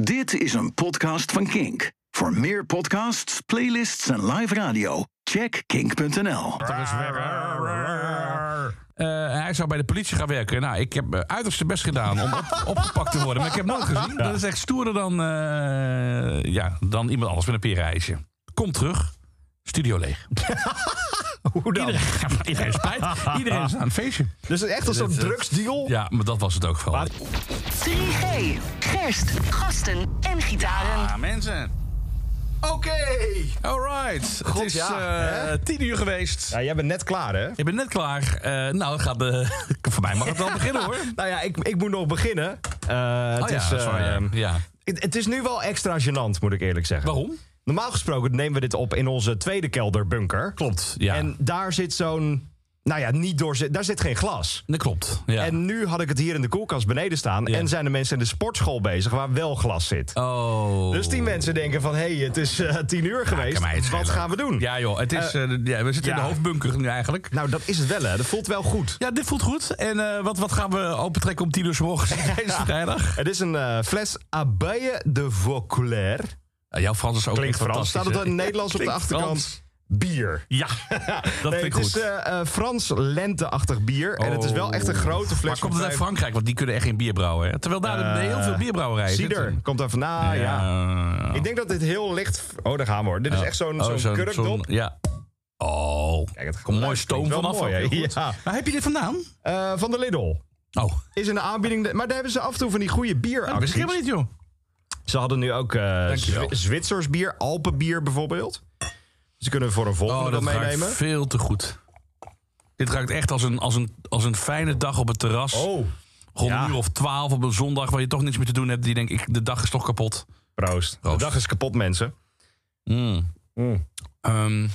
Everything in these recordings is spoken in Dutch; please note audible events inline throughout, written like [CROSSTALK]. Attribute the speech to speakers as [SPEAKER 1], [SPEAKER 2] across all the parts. [SPEAKER 1] Dit is een podcast van Kink. Voor meer podcasts, playlists en live radio, check kink.nl.
[SPEAKER 2] Eh, hij zou bij de politie gaan werken. Nou, ik heb mijn uiterste best gedaan om op- opgepakt te worden. Maar ik heb hem nooit gezien. Dat is echt stoerder dan, eh, ja, dan iemand anders met een perenijsje. Kom terug. Studio leeg.
[SPEAKER 3] Hoe dan? [LAUGHS]
[SPEAKER 2] Iedereen, iedereen is spijt. Iedereen is aan het feestje.
[SPEAKER 3] Dus het is echt een soort drugsdeal.
[SPEAKER 2] Ja, maar dat was het ook vooral.
[SPEAKER 4] 3G, gerst, gasten en gitaren.
[SPEAKER 2] Ah, mensen.
[SPEAKER 3] Oké!
[SPEAKER 2] Alright.
[SPEAKER 3] God,
[SPEAKER 2] het is
[SPEAKER 3] ja,
[SPEAKER 2] eh, tien uur geweest.
[SPEAKER 3] Ja, jij bent net klaar, hè?
[SPEAKER 2] Ik ben net klaar. Eh, [LAUGHS] nou, gaat de... voor mij mag het wel beginnen hoor.
[SPEAKER 3] Nou ja, ik, ik moet nog beginnen. Eh, het,
[SPEAKER 2] Oh ja,
[SPEAKER 3] is, eh,
[SPEAKER 2] sorry, ja. ja.
[SPEAKER 3] het, het is nu wel extra gênant, moet ik eerlijk zeggen.
[SPEAKER 2] Waarom?
[SPEAKER 3] Normaal gesproken nemen we dit op in onze tweede kelderbunker. Klopt,
[SPEAKER 2] ja.
[SPEAKER 3] En daar zit zo'n... Nou ja, niet doorzit... Daar zit geen glas.
[SPEAKER 2] Dat klopt. Ja.
[SPEAKER 3] En nu had ik het hier in de koelkast beneden staan.
[SPEAKER 2] Ja.
[SPEAKER 3] En zijn de mensen in de sportschool bezig waar wel glas zit.
[SPEAKER 2] Oh.
[SPEAKER 3] Dus die mensen denken van, hé, hey, het is eh, tien uur geweest.
[SPEAKER 2] kan mij
[SPEAKER 3] Wat
[SPEAKER 2] het schelen.
[SPEAKER 3] gaan we doen?
[SPEAKER 2] Ja joh, het is, eh, ja, we zitten in
[SPEAKER 3] ja.
[SPEAKER 2] de hoofdbunker nu eigenlijk.
[SPEAKER 3] Nou, dat is het wel, hè. Dat voelt wel goed.
[SPEAKER 2] Ja, dit voelt goed. En eh, wat, wat gaan we opentrekken om tien uur 's [LAUGHS] morgens deze vrijdag?
[SPEAKER 3] Het is een eh, fles Abeille de Vaucoulaire.
[SPEAKER 2] Ja, jouw Frans is ook
[SPEAKER 3] Klinkt
[SPEAKER 2] echt
[SPEAKER 3] Frans.
[SPEAKER 2] fantastisch,
[SPEAKER 3] Staat het
[SPEAKER 2] hè?
[SPEAKER 3] in het Nederlands op de
[SPEAKER 2] Klinkt
[SPEAKER 3] achterkant?
[SPEAKER 2] Frans.
[SPEAKER 3] Bier. [LAUGHS]
[SPEAKER 2] Ja, dat
[SPEAKER 3] nee,
[SPEAKER 2] klinkt
[SPEAKER 3] het is
[SPEAKER 2] goed. Oh.
[SPEAKER 3] eh, eh, Frans lenteachtig bier. En het is wel echt een grote fles.
[SPEAKER 2] maar komt
[SPEAKER 3] van
[SPEAKER 2] het uit
[SPEAKER 3] vijf-
[SPEAKER 2] Frankrijk? Want die kunnen echt geen bier brouwen. Hè? Terwijl daar
[SPEAKER 3] Eh,
[SPEAKER 2] heel veel bierbrouwerijen
[SPEAKER 3] Cider.
[SPEAKER 2] zitten. Eh,
[SPEAKER 3] Komt daar vandaan, ja.
[SPEAKER 2] Ja.
[SPEAKER 3] Ik denk dat dit heel licht... Oh, daar gaan we hoor. Dit is echt zo'n
[SPEAKER 2] Oh,
[SPEAKER 3] zo'n
[SPEAKER 2] zo'n-
[SPEAKER 3] kurkdop.
[SPEAKER 2] zo'n- Ja. Oh,
[SPEAKER 3] Kijk, het
[SPEAKER 2] komt mooi
[SPEAKER 3] geluid
[SPEAKER 2] stoom
[SPEAKER 3] klinkt wel
[SPEAKER 2] vanaf.
[SPEAKER 3] mooi,
[SPEAKER 2] ook,
[SPEAKER 3] hè?
[SPEAKER 2] heel goed. Oh,
[SPEAKER 3] Ja.
[SPEAKER 2] Waar heb je dit vandaan?
[SPEAKER 3] Eh, van de Lidl.
[SPEAKER 2] Oh,
[SPEAKER 3] Is in de aanbieding... Maar daar hebben ze af en toe van die goede
[SPEAKER 2] dat wist ik
[SPEAKER 3] bieracties.
[SPEAKER 2] helemaal niet, joh.
[SPEAKER 3] ze hadden nu ook eh
[SPEAKER 2] Dankjewel.
[SPEAKER 3] Zwi- Zwitsers bier, Alpenbier bijvoorbeeld. Ze kunnen we voor een volgende
[SPEAKER 2] Oh,
[SPEAKER 3] wel
[SPEAKER 2] dat
[SPEAKER 3] meenemen.
[SPEAKER 2] ruikt veel te goed. Dit ruikt echt als een, als een, als een fijne dag op het terras.
[SPEAKER 3] Oh,
[SPEAKER 2] Rond
[SPEAKER 3] ja.
[SPEAKER 2] een uur of twaalf op een zondag waar je toch niks meer te doen hebt. Die denk ik, de dag is toch kapot.
[SPEAKER 3] proost.
[SPEAKER 2] Proost.
[SPEAKER 3] De dag is kapot, mensen.
[SPEAKER 2] Mm.
[SPEAKER 3] Mm.
[SPEAKER 2] Ehm,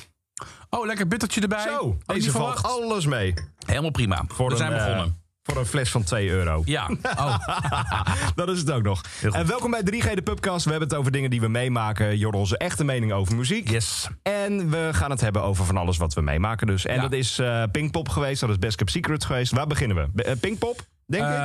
[SPEAKER 2] oh, lekker bittertje erbij.
[SPEAKER 3] Zo,
[SPEAKER 2] Had ik
[SPEAKER 3] deze
[SPEAKER 2] niet
[SPEAKER 3] valt
[SPEAKER 2] verwacht.
[SPEAKER 3] alles mee.
[SPEAKER 2] Helemaal prima.
[SPEAKER 3] Voor
[SPEAKER 2] We
[SPEAKER 3] een,
[SPEAKER 2] zijn
[SPEAKER 3] eh,
[SPEAKER 2] begonnen.
[SPEAKER 3] voor een fles van 2 euro.
[SPEAKER 2] Ja.
[SPEAKER 3] [LAUGHS]
[SPEAKER 2] Oh,
[SPEAKER 3] Dat is het ook nog.
[SPEAKER 2] Heel goed.
[SPEAKER 3] En welkom bij 3G de Pubcast. We hebben het over dingen die we meemaken. Jor, onze echte mening over muziek.
[SPEAKER 2] yes.
[SPEAKER 3] En we gaan het hebben over van alles wat we meemaken dus. En
[SPEAKER 2] Ja.
[SPEAKER 3] dat is eh Pinkpop geweest, dat is Best Kept Secret geweest. Waar beginnen we? Be- eh, Pinkpop, denk
[SPEAKER 2] Eh,
[SPEAKER 3] ik?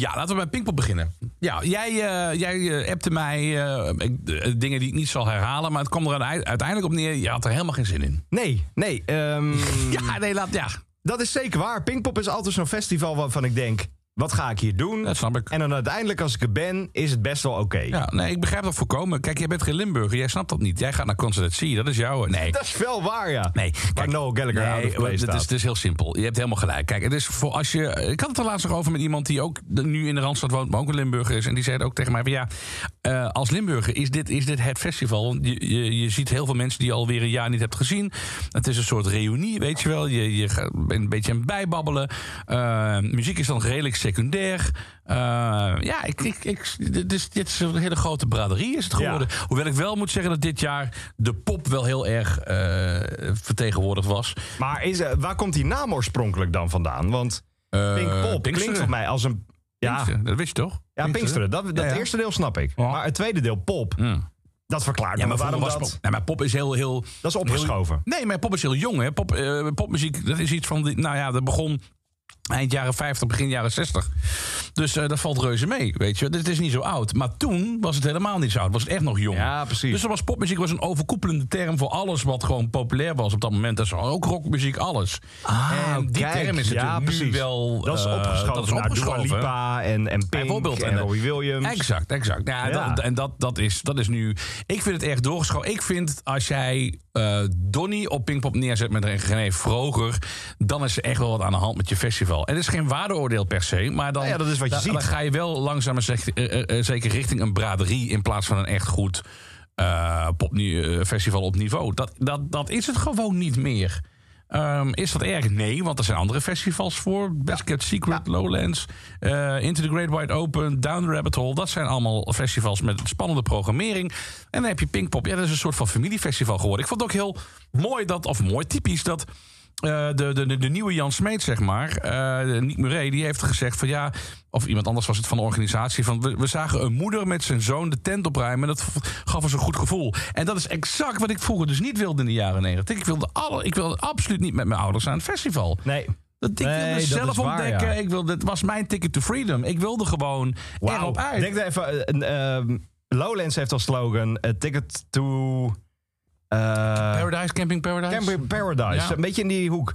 [SPEAKER 2] ja, laten we bij Pinkpop beginnen. Ja, jij, eh, jij eh, appte mij eh, ik- eh, dingen die ik niet zal herhalen. Maar het kwam er uite- uiteindelijk op neer. Je had er helemaal geen zin in.
[SPEAKER 3] Nee, nee. ehm,
[SPEAKER 2] [LAUGHS] Ja, nee, laat. Ja,
[SPEAKER 3] Dat is zeker waar. Pinkpop is altijd zo'n festival waarvan ik denk... wat ga ik hier doen?
[SPEAKER 2] dat snap ik.
[SPEAKER 3] En dan uiteindelijk, als ik er ben, is het best wel oké.
[SPEAKER 2] Ja, nee, ik begrijp dat voorkomen. Kijk, jij bent geen Limburger, jij snapt dat niet. Jij gaat naar Concert Sea, dat is jouw... Nee,
[SPEAKER 3] Dat is wel waar, ja.
[SPEAKER 2] nee.
[SPEAKER 3] Waar Noel Gallagher out of
[SPEAKER 2] nee,
[SPEAKER 3] place
[SPEAKER 2] het,
[SPEAKER 3] staat.
[SPEAKER 2] is, Dus het is heel simpel. Je hebt helemaal gelijk. Kijk, het is voor als je... Ik had het er laatst nog over met iemand die ook de- nu in de Randstad woont... maar ook een Limburger is. En die zei het ook tegen mij van... ja, eh, als Limburger is dit, is dit het festival. Want Je, je, je ziet heel veel mensen die je alweer een jaar niet hebt gezien. Het is een soort reunie, weet je wel. Je, je gaat- bent een beetje aan het bijbabbelen. Eh, muziek is dan redelijk secundair. Eh, ja, ik, ik, ik, dit, is, dit is een hele grote braderie is het
[SPEAKER 3] Ja.
[SPEAKER 2] geworden. Hoewel ik wel moet zeggen dat dit jaar de pop wel heel erg eh, vertegenwoordigd was.
[SPEAKER 3] Maar is, eh, waar komt die naam oorspronkelijk dan vandaan? Want
[SPEAKER 2] Eh,
[SPEAKER 3] Pinkpop klinkt
[SPEAKER 2] Pinksteren.
[SPEAKER 3] voor mij als een... Ja,
[SPEAKER 2] Pinksteren, Dat wist je toch?
[SPEAKER 3] ja Pinksteren. Dat, dat
[SPEAKER 2] Ja, ja.
[SPEAKER 3] eerste deel snap ik.
[SPEAKER 2] Ja.
[SPEAKER 3] Maar het tweede deel, pop, dat verklaart
[SPEAKER 2] Ja,
[SPEAKER 3] me
[SPEAKER 2] maar
[SPEAKER 3] waarom
[SPEAKER 2] waarom was
[SPEAKER 3] dat...
[SPEAKER 2] pop? Nee, maar pop is heel, heel...
[SPEAKER 3] Dat is opgeschoven.
[SPEAKER 2] Nee, maar pop is heel jong. Hè? Pop, eh, popmuziek, dat is iets van... die- nou ja, dat begon eind jaren 50, begin jaren 60. Dus eh, dat valt reuze mee, weet je. Dus het is niet zo oud. Maar toen was het helemaal niet zo oud. Was het echt nog jong.
[SPEAKER 3] Ja, precies.
[SPEAKER 2] Dus dat was popmuziek was een overkoepelende term voor alles wat gewoon populair was op dat moment. Dat is ook rockmuziek, alles. en Ah, die
[SPEAKER 3] Ah, Kijk,
[SPEAKER 2] term is
[SPEAKER 3] ja,
[SPEAKER 2] natuurlijk nu
[SPEAKER 3] precies.
[SPEAKER 2] wel...
[SPEAKER 3] dat is
[SPEAKER 2] eh,
[SPEAKER 3] opgeschoven,
[SPEAKER 2] dat is opgeschoven.
[SPEAKER 3] naar Dua Lipa en, en Pink
[SPEAKER 2] Bijvoorbeeld,
[SPEAKER 3] en,
[SPEAKER 2] en, eh,
[SPEAKER 3] Robbie Williams.
[SPEAKER 2] Exact, exact. Nou, ja,
[SPEAKER 3] Ja.
[SPEAKER 2] dat- en dat, dat, is, dat is nu. Ik vind het echt doorgeschoven. Ik vind als jij eh Donny op Pinkpop neerzet met René Vroger. dan is er echt wel wat aan de hand met je festival. En het is geen waardeoordeel per se. Maar dan,
[SPEAKER 3] Nou ja, dat is wat je
[SPEAKER 2] dan-
[SPEAKER 3] ziet.
[SPEAKER 2] dan ga je wel langzaam en zek- eh, eh, eh, zeker richting een braderie. in plaats van een echt goed eh, popnie- eh, festival op niveau. Dat, dat, dat is het gewoon niet meer. Ehm, is dat erg? Nee, want er zijn andere festivals voor. Best Kept Secret, Lowlands, eh, Into the Great Wide Open, Down the Rabbit Hole. Dat zijn allemaal festivals met spannende programmering. En dan heb je Pinkpop. Ja, dat is een soort van familiefestival geworden. Ik vond het ook heel mooi dat, of mooi typisch, dat eh, de, de, de, de nieuwe Jan Smeet, zeg maar, eh Nick Murray, die heeft gezegd van ja, of iemand anders was het van de organisatie, van we, we zagen een moeder met zijn zoon de tent opruimen en dat v- gaf ons een goed gevoel. En dat is exact wat ik vroeger dus niet wilde in de jaren negentig. Ik wilde, alle, ik wilde absoluut niet met mijn ouders aan het festival.
[SPEAKER 3] Nee.
[SPEAKER 2] Dat ik
[SPEAKER 3] Nee,
[SPEAKER 2] wilde
[SPEAKER 3] dat
[SPEAKER 2] zelf
[SPEAKER 3] is waar,
[SPEAKER 2] ontdekken.
[SPEAKER 3] ja.
[SPEAKER 2] Ik wilde, het was mijn ticket to freedom. Ik wilde gewoon erop uit.
[SPEAKER 3] Denk er even. eh, een, ehm, Lowlands heeft als slogan: eh, Ticket to. eh,
[SPEAKER 2] Paradise, Camping Paradise.
[SPEAKER 3] Camping Paradise.
[SPEAKER 2] Ja.
[SPEAKER 3] Een beetje in die hoek.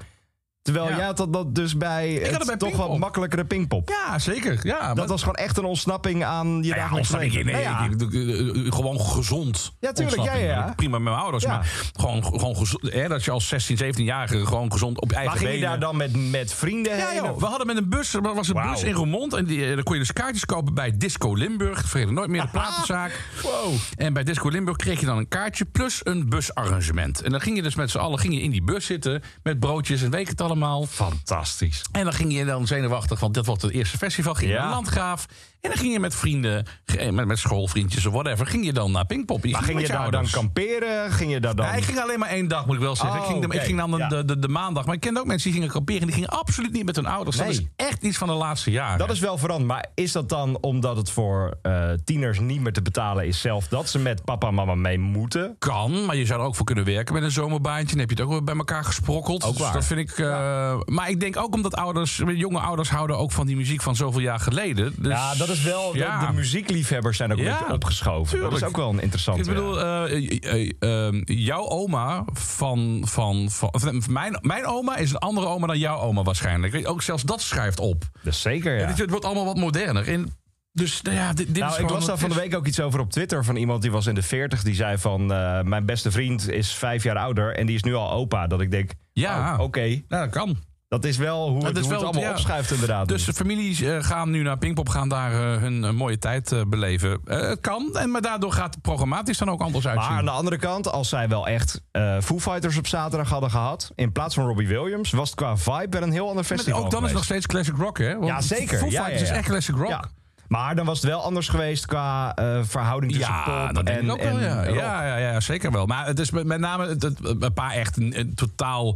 [SPEAKER 3] Terwijl
[SPEAKER 2] Ja.
[SPEAKER 3] jij had dat, dat dus bij.
[SPEAKER 2] had
[SPEAKER 3] het
[SPEAKER 2] het bij
[SPEAKER 3] toch wat
[SPEAKER 2] Pinkpop.
[SPEAKER 3] makkelijkere pingpop.
[SPEAKER 2] Ja, zeker. Ja, maar-
[SPEAKER 3] Dat was gewoon echt een ontsnapping aan je
[SPEAKER 2] Nou ja,
[SPEAKER 3] dagelijks
[SPEAKER 2] ontsnapping.
[SPEAKER 3] leven.
[SPEAKER 2] Nee,
[SPEAKER 3] Nou ja.
[SPEAKER 2] ik- ik- ik- ik- gewoon gezond.
[SPEAKER 3] Ja, tuurlijk,
[SPEAKER 2] ontsnapping.
[SPEAKER 3] ja, ja.
[SPEAKER 2] Dat ik Prima met mijn ouders.
[SPEAKER 3] Ja.
[SPEAKER 2] Maar gewoon, gewoon gezond, hè, dat je als 16, 17-jarige gewoon gezond op je eigen
[SPEAKER 3] Maar ging je
[SPEAKER 2] benen...
[SPEAKER 3] daar dan met, met vrienden
[SPEAKER 2] Ja,
[SPEAKER 3] heen?
[SPEAKER 2] joh.
[SPEAKER 3] of-
[SPEAKER 2] We hadden met een bus, er was een
[SPEAKER 3] Wauw.
[SPEAKER 2] bus in Roermond. En die, eh, dan kon je dus kaartjes kopen bij Disco Limburg. Vergeet het nooit [LAUGHS] meer, de platenzaak.
[SPEAKER 3] Wow.
[SPEAKER 2] En bij Disco Limburg kreeg je dan een kaartje plus een busarrangement. En dan ging je dus met z'n allen ging je in die bus zitten. Met broodjes en weet ik het allemaal.
[SPEAKER 3] Fantastisch.
[SPEAKER 2] En dan ging je dan zenuwachtig, want dat wordt het eerste festival. Ging je
[SPEAKER 3] Ja.
[SPEAKER 2] naar Landgraaf. En dan ging je met vrienden, eh, met, met schoolvriendjes of whatever. Ging je dan naar Pinkpop.
[SPEAKER 3] Maar ging je
[SPEAKER 2] met
[SPEAKER 3] daar
[SPEAKER 2] ouders.
[SPEAKER 3] dan kamperen? Ging je daar dan...
[SPEAKER 2] Ja, ik ging alleen maar één dag, moet ik wel zeggen.
[SPEAKER 3] Oh,
[SPEAKER 2] ik, ging, dan-
[SPEAKER 3] oké.
[SPEAKER 2] ik ging dan de,
[SPEAKER 3] Ja.
[SPEAKER 2] de, de, de maandag. Maar ik kende ook mensen die gingen kamperen. Die gingen absoluut niet met hun ouders.
[SPEAKER 3] Nee.
[SPEAKER 2] Dat is echt iets van de laatste jaren.
[SPEAKER 3] Dat is wel veranderd. Maar is dat dan omdat het voor eh, tieners niet meer te betalen is zelf... dat ze met papa en mama mee moeten?
[SPEAKER 2] kan, maar je zou er ook voor kunnen werken met een zomerbaantje. Dan heb je het ook wel bij elkaar gesprokkeld.
[SPEAKER 3] Ook
[SPEAKER 2] Dus
[SPEAKER 3] waar.
[SPEAKER 2] dat vind ik. eh, Maar ik denk ook omdat ouders, jonge ouders houden ook van die muziek van zoveel jaar geleden. Dus,
[SPEAKER 3] Ja, dat is wel... de-
[SPEAKER 2] ja.
[SPEAKER 3] De, muziekliefhebbers zijn ook een
[SPEAKER 2] Ja,
[SPEAKER 3] beetje opgeschoven. Dat is
[SPEAKER 2] tuurlijk.
[SPEAKER 3] ook wel een interessante...
[SPEAKER 2] Ik bedoel, eh, eh, eh, eh, jouw oma van. van, van of mijn, mijn oma is een andere oma dan jouw oma waarschijnlijk. Ook zelfs dat schrijft op.
[SPEAKER 3] Dus zeker, ja.
[SPEAKER 2] Het, het wordt allemaal wat moderner. En dus nou ja, dit, dit is
[SPEAKER 3] Nou, ik
[SPEAKER 2] gewoon
[SPEAKER 3] las
[SPEAKER 2] wat
[SPEAKER 3] daar
[SPEAKER 2] het
[SPEAKER 3] van de
[SPEAKER 2] is.
[SPEAKER 3] week ook iets over op Twitter van iemand die was in de 40. Die zei van, eh, mijn beste vriend is vijf jaar ouder en die is nu al opa. Dat ik denk,
[SPEAKER 2] Ja.
[SPEAKER 3] oh, oké,
[SPEAKER 2] Ja, dat kan.
[SPEAKER 3] dat is wel hoe,
[SPEAKER 2] Dat
[SPEAKER 3] het,
[SPEAKER 2] is
[SPEAKER 3] hoe het
[SPEAKER 2] wel-
[SPEAKER 3] allemaal
[SPEAKER 2] ja.
[SPEAKER 3] opschuift inderdaad.
[SPEAKER 2] Dus de families eh, gaan nu naar Pinkpop, gaan daar eh, hun eh, mooie tijd eh, beleven. Eh, het kan, en, maar daardoor gaat het programmatisch dan ook anders uitzien.
[SPEAKER 3] Maar aan de andere kant, als zij wel echt eh Foo Fighters op zaterdag hadden gehad... in plaats van Robbie Williams, was het qua vibe wel een heel ander
[SPEAKER 2] Maar
[SPEAKER 3] festival
[SPEAKER 2] ook dan is het nog
[SPEAKER 3] geweest.
[SPEAKER 2] steeds classic rock, hè? Want
[SPEAKER 3] Ja, zeker.
[SPEAKER 2] Foo
[SPEAKER 3] Ja,
[SPEAKER 2] Fighters
[SPEAKER 3] ja, ja.
[SPEAKER 2] is echt classic rock.
[SPEAKER 3] Ja. Maar dan was het wel anders geweest qua eh, verhouding tussen
[SPEAKER 2] Ja,
[SPEAKER 3] pop
[SPEAKER 2] dat denk
[SPEAKER 3] en,
[SPEAKER 2] ik ook wel.
[SPEAKER 3] en
[SPEAKER 2] Ja.
[SPEAKER 3] rock.
[SPEAKER 2] Ja, ja, ja, zeker wel. Maar het is met, met name het, het- een paar echt n- eh, totaal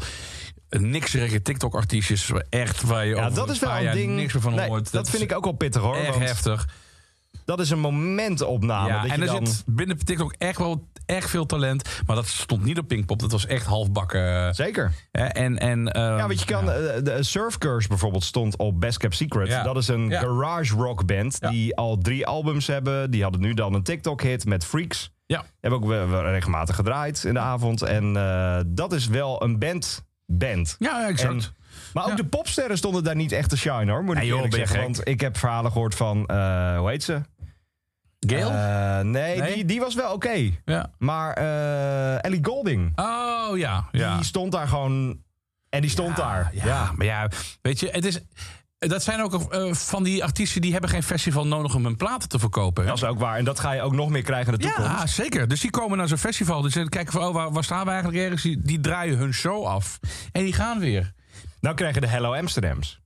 [SPEAKER 2] nikserige TikTok-artiestjes. Echt waar je
[SPEAKER 3] Ja,
[SPEAKER 2] over
[SPEAKER 3] dat
[SPEAKER 2] een
[SPEAKER 3] is wel
[SPEAKER 2] paar
[SPEAKER 3] een
[SPEAKER 2] jaar
[SPEAKER 3] ding.
[SPEAKER 2] niks meer van
[SPEAKER 3] Nee,
[SPEAKER 2] hoort.
[SPEAKER 3] dat vind ik ook wel pittig hoor.
[SPEAKER 2] Echt
[SPEAKER 3] want
[SPEAKER 2] heftig.
[SPEAKER 3] dat is een momentopname.
[SPEAKER 2] Ja,
[SPEAKER 3] dat je
[SPEAKER 2] en er
[SPEAKER 3] dan...
[SPEAKER 2] zit binnen TikTok echt wel echt veel talent. Maar dat stond niet op Pinkpop. Dat was echt halfbakken. eh,
[SPEAKER 3] Zeker.
[SPEAKER 2] En, en, ehm,
[SPEAKER 3] Ja, want je kan. eh, De Surf Curse bijvoorbeeld stond op Best Kept Secret.
[SPEAKER 2] Ja.
[SPEAKER 3] Dat is een
[SPEAKER 2] Ja.
[SPEAKER 3] garage rock band
[SPEAKER 2] Ja.
[SPEAKER 3] die al drie albums hebben. Die hadden nu dan een TikTok-hit met Freaks.
[SPEAKER 2] ja.
[SPEAKER 3] Hebben ook wel- wel regelmatig gedraaid in de avond. En eh, dat is wel een band. Band.
[SPEAKER 2] Ja, ja, exact.
[SPEAKER 3] En- maar ook
[SPEAKER 2] Ja.
[SPEAKER 3] de popsterren stonden daar niet echt te shine hoor. Moet ik
[SPEAKER 2] Nee, joh,
[SPEAKER 3] eerlijk
[SPEAKER 2] ben je
[SPEAKER 3] zeggen.
[SPEAKER 2] gek.
[SPEAKER 3] Want ik heb verhalen gehoord van. eh, hoe heet ze?
[SPEAKER 2] Gail?
[SPEAKER 3] Eh, nee,
[SPEAKER 2] Nee?
[SPEAKER 3] Die, die was wel oké.
[SPEAKER 2] ja.
[SPEAKER 3] Maar eh, Ellie Golding.
[SPEAKER 2] Oh ja. ja.
[SPEAKER 3] Die stond daar gewoon. En die stond daar.
[SPEAKER 2] Ah, Ja, maar ja, weet je, het is. Dat zijn ook eh, van die artiesten die hebben geen festival nodig om hun platen te verkopen. hè?
[SPEAKER 3] Dat is ook waar. En dat ga je ook nog meer krijgen in de toekomst.
[SPEAKER 2] Ja, zeker. Dus die komen naar zo'n festival. Dus ze kijken van, oh, waar, waar staan we eigenlijk ergens? Die, die draaien hun show af. En die gaan weer.
[SPEAKER 3] Nou krijg je de Hello Amsterdams.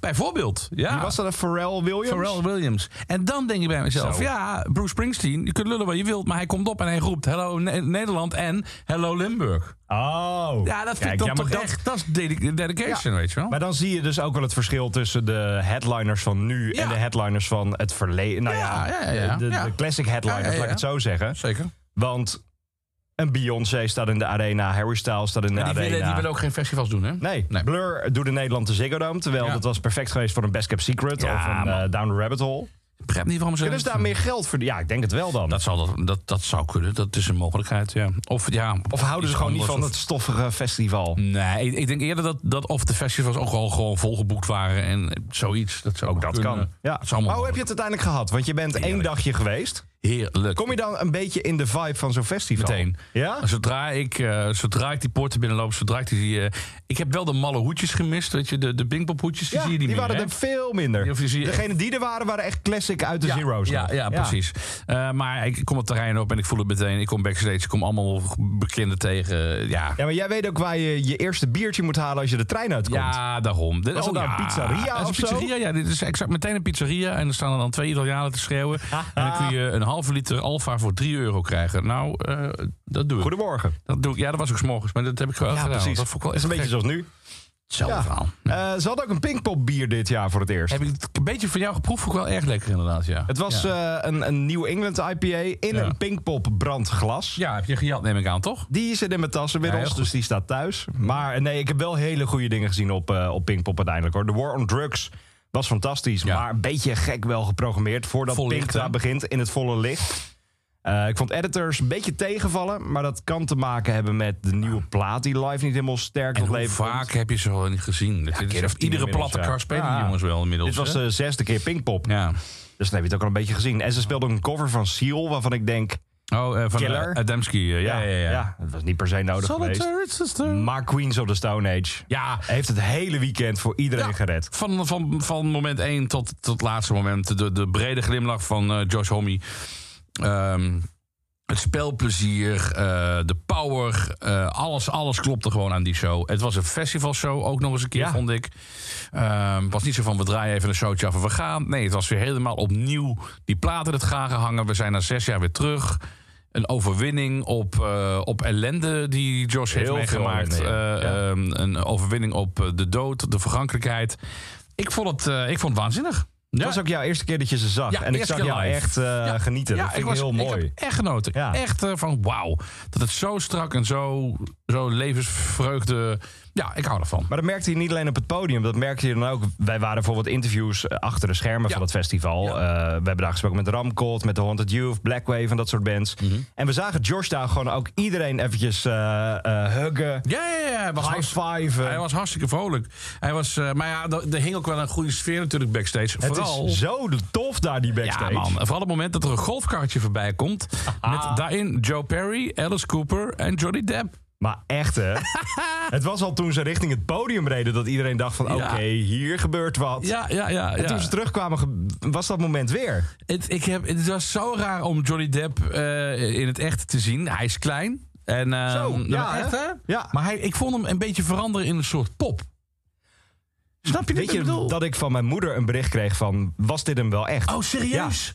[SPEAKER 2] Bijvoorbeeld. Ja.
[SPEAKER 3] Wie was dat? een Pharrell Williams?
[SPEAKER 2] Pharrell Williams. En dan denk je bij mezelf,
[SPEAKER 3] Zo.
[SPEAKER 2] ja, Bruce Springsteen, je kunt lullen wat je wilt, maar hij komt op en hij roept Hello Ne- Nederland en Hello Limburg.
[SPEAKER 3] Oh.
[SPEAKER 2] Ja, dat vind
[SPEAKER 3] Kijk,
[SPEAKER 2] ik dan
[SPEAKER 3] ja, maar
[SPEAKER 2] toch
[SPEAKER 3] dat-
[SPEAKER 2] echt, dat is dedi- dedication,
[SPEAKER 3] Ja.
[SPEAKER 2] weet je wel.
[SPEAKER 3] Maar dan zie je dus ook wel het verschil tussen de headliners van nu
[SPEAKER 2] Ja.
[SPEAKER 3] en de headliners van het verleden. Nou ja,
[SPEAKER 2] Ja, ja, ja,
[SPEAKER 3] de, de
[SPEAKER 2] ja.
[SPEAKER 3] classic headliners,
[SPEAKER 2] Ja, ja, ja.
[SPEAKER 3] laat ik het zo zeggen.
[SPEAKER 2] Zeker.
[SPEAKER 3] Want een Beyoncé staat in de arena, Harry Styles staat in de
[SPEAKER 2] die,
[SPEAKER 3] arena.
[SPEAKER 2] willen, die willen ook geen festivals doen, hè?
[SPEAKER 3] Nee,
[SPEAKER 2] Nee.
[SPEAKER 3] Blur doet in Nederland de Ziggo Dome, terwijl
[SPEAKER 2] Ja.
[SPEAKER 3] dat was perfect geweest voor een Best Kept Secret
[SPEAKER 2] Ja,
[SPEAKER 3] of een
[SPEAKER 2] man.
[SPEAKER 3] eh, Down the Rabbit Hole.
[SPEAKER 2] Ik begrijp niet waarom ze...
[SPEAKER 3] Kunnen ze daar meer geld verdienen? Ja, ik denk het wel dan.
[SPEAKER 2] Dat zou, dat, dat, dat zou kunnen, dat is een mogelijkheid, ja. Of, ja,
[SPEAKER 3] Of houden ze
[SPEAKER 2] iets
[SPEAKER 3] gewoon niet van
[SPEAKER 2] anders
[SPEAKER 3] dat
[SPEAKER 2] of- Mm.
[SPEAKER 3] stoffige festival?
[SPEAKER 2] Nee, ik, ik denk eerder dat, dat of de festivals ook al gewoon volgeboekt waren en zoiets. Dat zou
[SPEAKER 3] Ook dat
[SPEAKER 2] kunnen.
[SPEAKER 3] kan. Ja.
[SPEAKER 2] Dat is
[SPEAKER 3] Maar
[SPEAKER 2] allemaal
[SPEAKER 3] hoe heb je het uiteindelijk gehad? Want je bent één
[SPEAKER 2] Heerlijk.
[SPEAKER 3] dagje geweest.
[SPEAKER 2] Heerlijk.
[SPEAKER 3] Kom je dan een beetje in de vibe van zo'n festival?
[SPEAKER 2] meteen.
[SPEAKER 3] Ja?
[SPEAKER 2] Zodra ik, eh, zodra ik die poorten binnenloop, zodra ik die... eh, ik heb wel de malle hoedjes gemist, weet je, de, de bingpophoedjes, die
[SPEAKER 3] Ja,
[SPEAKER 2] zie je
[SPEAKER 3] die
[SPEAKER 2] niet meer,
[SPEAKER 3] waren
[SPEAKER 2] hè?
[SPEAKER 3] er veel minder.
[SPEAKER 2] Die- of die zie je echt-
[SPEAKER 3] Degene die er waren, waren echt classic uit de
[SPEAKER 2] ja,
[SPEAKER 3] Zero's.
[SPEAKER 2] Ja,
[SPEAKER 3] nog.
[SPEAKER 2] ja, precies. Eh, maar ik kom het terrein op en ik voel het meteen. Ik kom backstage, ik kom allemaal bekenden tegen. Ja,
[SPEAKER 3] Ja, maar jij weet ook waar je je eerste biertje moet halen als je de trein uitkomt.
[SPEAKER 2] oh ja daarom. Dit,
[SPEAKER 3] Was het nou een pizzeria
[SPEAKER 2] Dat
[SPEAKER 3] of
[SPEAKER 2] is een
[SPEAKER 3] zo?
[SPEAKER 2] pizzeria, ja. Dit is exact meteen een pizzeria. En er staan er dan twee Italianen te
[SPEAKER 3] [LAUGHS]
[SPEAKER 2] schreeuwen. en dan kun je een halve liter Alfa voor 3 euro krijgen. Nou, eh, dat doe ik.
[SPEAKER 3] Goedemorgen.
[SPEAKER 2] Dat doe ik. Ja, dat was ook s'morgens, maar dat heb ik wel gedaan. want Dat vond ik wel
[SPEAKER 3] is een
[SPEAKER 2] echt
[SPEAKER 3] beetje
[SPEAKER 2] gek.
[SPEAKER 3] zoals nu.
[SPEAKER 2] Hetzelfde
[SPEAKER 3] Ja.
[SPEAKER 2] verhaal.
[SPEAKER 3] Eh, ze had ook een Pinkpop bier dit jaar voor het eerst.
[SPEAKER 2] Heb ik het een beetje van jou geproefd? Vond ik wel erg lekker inderdaad, ja.
[SPEAKER 3] Het was
[SPEAKER 2] Ja,
[SPEAKER 3] eh, een, een New England IPA in
[SPEAKER 2] Ja.
[SPEAKER 3] een Pinkpop brandglas.
[SPEAKER 2] Ja, heb je gejat, neem ik aan, toch?
[SPEAKER 3] Die zit in mijn tas
[SPEAKER 2] Ja,
[SPEAKER 3] inmiddels,
[SPEAKER 2] heel goed.
[SPEAKER 3] dus die staat thuis. Maar eh, nee, ik heb wel hele goede dingen gezien op, eh, op Pinkpop uiteindelijk. hoor. De War on Drugs was fantastisch,
[SPEAKER 2] Ja.
[SPEAKER 3] maar een beetje gek wel geprogrammeerd... voordat
[SPEAKER 2] Vol
[SPEAKER 3] Pink
[SPEAKER 2] licht,
[SPEAKER 3] daar
[SPEAKER 2] hè?
[SPEAKER 3] begint in het volle licht. Eh, ik vond editors een beetje tegenvallen... maar dat kan te maken hebben met de nieuwe plaat... die live niet helemaal sterk
[SPEAKER 2] En
[SPEAKER 3] tot
[SPEAKER 2] hoe
[SPEAKER 3] leven komt.
[SPEAKER 2] vaak heb je ze al niet gezien? Dit
[SPEAKER 3] keer
[SPEAKER 2] is
[SPEAKER 3] of
[SPEAKER 2] echt
[SPEAKER 3] tien
[SPEAKER 2] iedere
[SPEAKER 3] inmiddels,
[SPEAKER 2] platte
[SPEAKER 3] ja.
[SPEAKER 2] kar spelen die
[SPEAKER 3] Ja.
[SPEAKER 2] jongens wel inmiddels.
[SPEAKER 3] Dit was eh,
[SPEAKER 2] hè?
[SPEAKER 3] de zesde keer Pinkpop,
[SPEAKER 2] Ja.
[SPEAKER 3] dus dan heb je het ook al een beetje gezien. En ze speelde ook een cover van Seal, waarvan ik denk...
[SPEAKER 2] Oh, eh, van
[SPEAKER 3] Killer.
[SPEAKER 2] eh, Adamski. eh, ja, ja, ja. ja.
[SPEAKER 3] dat was niet per se nodig geweest.
[SPEAKER 2] eh,
[SPEAKER 3] Mm. Maar Queens of the Stone Age
[SPEAKER 2] Ja,
[SPEAKER 3] heeft het hele weekend voor iedereen
[SPEAKER 2] Ja.
[SPEAKER 3] gered.
[SPEAKER 2] Van, van, van moment 1 tot tot laatste moment. De, de brede glimlach van eh, Josh Homme. Ehm, het spelplezier, eh, de power. eh, alles, alles klopte gewoon aan die show. Het was een festivalshow ook nog eens een keer,
[SPEAKER 3] Ja.
[SPEAKER 2] vond ik. Ehm, het was niet zo van we draaien even een showtje af en we gaan. Nee, het was weer helemaal opnieuw die platen het gaan gehangen. We zijn na zes jaar weer terug. Een overwinning op, eh, op ellende die Josh heeft
[SPEAKER 3] Heel veel
[SPEAKER 2] meegemaakt.
[SPEAKER 3] ellende, ja.
[SPEAKER 2] Eh,
[SPEAKER 3] Ja.
[SPEAKER 2] ehm, een overwinning op eh, de dood, de vergankelijkheid. Ik vond het, eh, ik vond het waanzinnig. Ja.
[SPEAKER 3] Het was ook jouw eerste keer dat je ze zag.
[SPEAKER 2] Ja,
[SPEAKER 3] en ik
[SPEAKER 2] eerste
[SPEAKER 3] zag
[SPEAKER 2] keer
[SPEAKER 3] jou
[SPEAKER 2] live.
[SPEAKER 3] echt eh, genieten. dat vind ik heel mooi.
[SPEAKER 2] Ik heb echt genoten.
[SPEAKER 3] Ja.
[SPEAKER 2] Echt eh, van wauw. Dat het zo strak en zo, zo levensvreugde... Ja, ik hou ervan.
[SPEAKER 3] Maar dat merkte je niet alleen op het podium. Dat merkte je dan ook. Wij waren bijvoorbeeld interviews eh, achter de schermen
[SPEAKER 2] Ja.
[SPEAKER 3] van het festival.
[SPEAKER 2] Ja.
[SPEAKER 3] Eh, we hebben daar gesproken met Ramcot, met The Haunted Youth, Blackwave en dat soort bands.
[SPEAKER 2] Mhm.
[SPEAKER 3] En we zagen Josh daar gewoon ook iedereen eventjes eh, eh, huggen, eh,
[SPEAKER 2] Ja, ja, ja. Hij was, hartst-
[SPEAKER 3] high-fiven.
[SPEAKER 2] hij was hartstikke vrolijk. Hij was, eh, maar ja, er er hing ook wel een goede sfeer natuurlijk backstage.
[SPEAKER 3] Het
[SPEAKER 2] Vooral...
[SPEAKER 3] is zo tof daar, die backstage.
[SPEAKER 2] Ja, man. Vooral het moment dat er een golfkaartje voorbij
[SPEAKER 3] [LAUGHS]
[SPEAKER 2] komt. Met daarin Joe Perry, Alice Cooper en Johnny Depp.
[SPEAKER 3] Maar echt,
[SPEAKER 2] [LAUGHS]
[SPEAKER 3] hè? het was al toen ze richting het podium reden dat iedereen dacht van...
[SPEAKER 2] Ja.
[SPEAKER 3] oké, hier gebeurt wat.
[SPEAKER 2] Ja, ja, ja.
[SPEAKER 3] En
[SPEAKER 2] ja.
[SPEAKER 3] toen ze terugkwamen, ge- was dat moment weer.
[SPEAKER 2] Het, ik heb, het was zo raar om Johnny Depp eh, in het echt te zien. Hij is klein. En, eh,
[SPEAKER 3] Zo,
[SPEAKER 2] nou,
[SPEAKER 3] ja,
[SPEAKER 2] echt,
[SPEAKER 3] hè?
[SPEAKER 2] hè?
[SPEAKER 3] Ja.
[SPEAKER 2] Maar hij, ik vond hem een beetje veranderen in een soort pop. Snap je
[SPEAKER 3] Weet
[SPEAKER 2] wat ik
[SPEAKER 3] je
[SPEAKER 2] bedoel?
[SPEAKER 3] dat ik van mijn moeder een bericht kreeg van... was dit hem wel echt?
[SPEAKER 2] Oh, serieus?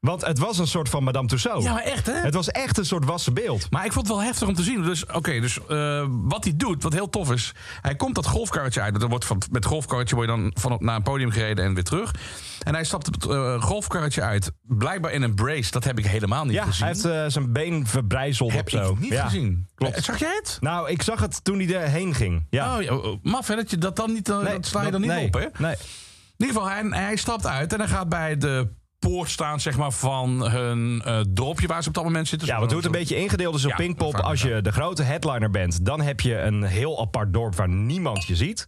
[SPEAKER 3] Want het was een soort van Madame Tussauds.
[SPEAKER 2] Ja, maar echt, hè?
[SPEAKER 3] Het was echt een soort wassen beeld.
[SPEAKER 2] Maar ik vond het wel heftig om te zien. Dus oké, dus eh, wat hij doet, wat heel tof is. Hij komt dat golfkarretje uit. Dat wordt van, met golfkarretje word je dan van op, naar een podium gereden en weer terug. En hij stapt het eh, golfkarretje uit. Blijkbaar in een brace. Dat heb ik helemaal niet
[SPEAKER 3] Ja,
[SPEAKER 2] gezien.
[SPEAKER 3] hij heeft eh, zijn been verbrijzeld
[SPEAKER 2] heb
[SPEAKER 3] of zo.
[SPEAKER 2] ik niet
[SPEAKER 3] Ja.
[SPEAKER 2] gezien.
[SPEAKER 3] klopt.
[SPEAKER 2] Eh, Zag jij het?
[SPEAKER 3] Nou, ik zag het toen hij erheen ging. Ja.
[SPEAKER 2] Oh, ja, oh, oh, maf hè, dat je dat dan niet, eh, dat sla je dan niet
[SPEAKER 3] nee,
[SPEAKER 2] op hè?
[SPEAKER 3] Nee.
[SPEAKER 2] In ieder geval, hij, hij stapt uit en hij gaat bij de poort staan zeg maar van hun eh dorpje waar ze op dat moment zitten.
[SPEAKER 3] Ja,
[SPEAKER 2] Zo-
[SPEAKER 3] want hoe het een
[SPEAKER 2] zo-
[SPEAKER 3] beetje ingedeeld is op
[SPEAKER 2] Ja,
[SPEAKER 3] Pinkpop.
[SPEAKER 2] vaak
[SPEAKER 3] Als je de grote headliner bent, dan heb je een heel apart dorp waar niemand je ziet.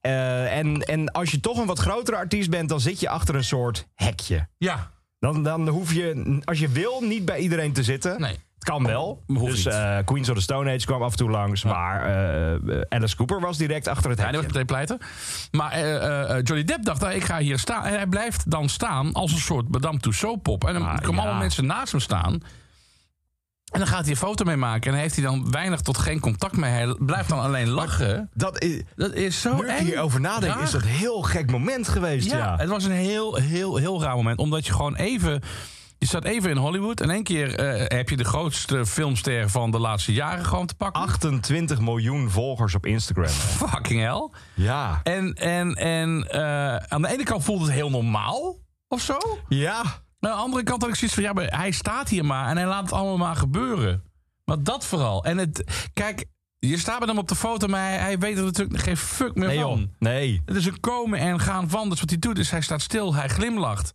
[SPEAKER 3] Eh, en, en als je toch een wat grotere artiest bent, dan zit je achter een soort hekje.
[SPEAKER 2] Ja,
[SPEAKER 3] Dan, dan hoef je, als je wil, niet bij iedereen te zitten.
[SPEAKER 2] nee.
[SPEAKER 3] Het kan wel.
[SPEAKER 2] Hoeft
[SPEAKER 3] dus
[SPEAKER 2] niet.
[SPEAKER 3] eh, Queens of the Stone Age kwam af en toe langs. Maar eh, Alice Cooper was direct achter het
[SPEAKER 2] Ja, die was
[SPEAKER 3] hekje.
[SPEAKER 2] meteen pleiten. Maar eh, eh, eh, Johnny Depp dacht, nou, ik ga hier staan. En hij blijft dan staan als een soort Madame Tussauds-pop. En dan
[SPEAKER 3] Ah,
[SPEAKER 2] komen
[SPEAKER 3] ja.
[SPEAKER 2] allemaal mensen naast hem staan. En dan gaat hij een foto mee maken. En heeft hij dan weinig tot geen contact mee. Hij blijft dan alleen lachen.
[SPEAKER 3] Dat is,
[SPEAKER 2] Dat is zo
[SPEAKER 3] nu ik
[SPEAKER 2] eng.
[SPEAKER 3] hierover nadenk,
[SPEAKER 2] Raar.
[SPEAKER 3] is dat een heel gek moment geweest. Ja,
[SPEAKER 2] Ja, het was een heel, heel, heel raar moment. Omdat je gewoon even... Je staat even in Hollywood. En één keer eh, heb je de grootste filmster van de laatste jaren gewoon te pakken.
[SPEAKER 3] 28 miljoen volgers op Instagram.
[SPEAKER 2] fucking hell.
[SPEAKER 3] ja.
[SPEAKER 2] En, en, en eh, aan de ene kant voelt het heel normaal. Of zo.
[SPEAKER 3] Ja.
[SPEAKER 2] Maar aan de andere kant had ik zoiets van... Ja, maar hij staat hier maar. En hij laat het allemaal maar gebeuren. Maar dat vooral. En het... Kijk, je staat met hem op de foto. Maar hij, hij weet er natuurlijk geen fuck meer
[SPEAKER 3] Nee,
[SPEAKER 2] van.
[SPEAKER 3] joh. Nee.
[SPEAKER 2] Het is een komen en gaan van. Dus wat hij doet is hij staat stil, hij glimlacht.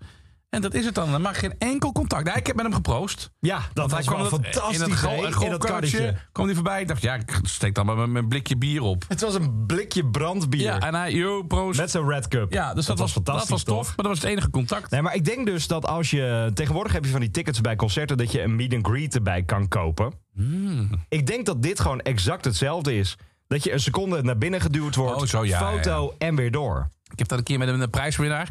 [SPEAKER 2] En dat is het dan. Er mag geen enkel contact. Nou, ik heb met hem geproost.
[SPEAKER 3] Ja, dat
[SPEAKER 2] hij
[SPEAKER 3] was wel
[SPEAKER 2] dat-
[SPEAKER 3] fantastisch.
[SPEAKER 2] In het,
[SPEAKER 3] hè,
[SPEAKER 2] gro-
[SPEAKER 3] in dat
[SPEAKER 2] karretje
[SPEAKER 3] karretje.
[SPEAKER 2] kwam hij voorbij. Ik dacht, ja, ik steek dan maar mijn- mijn blikje bier op.
[SPEAKER 3] Het was een blikje brandbier.
[SPEAKER 2] Ja, en hij, yo, proost.
[SPEAKER 3] Met zo'n Red Cup.
[SPEAKER 2] ja, dus dat, was, dat was tof. Maar dat was het enige contact.
[SPEAKER 3] Nee, maar ik denk dus dat als je... Tegenwoordig heb je van die tickets bij concerten... dat je een meet and greet erbij kan kopen.
[SPEAKER 2] Hmm.
[SPEAKER 3] Ik denk dat dit gewoon exact hetzelfde is. Dat je een seconde naar binnen geduwd wordt.
[SPEAKER 2] Oh, zo, ja,
[SPEAKER 3] foto en weer door.
[SPEAKER 2] Ik heb dat een keer met een een prijswinnaar.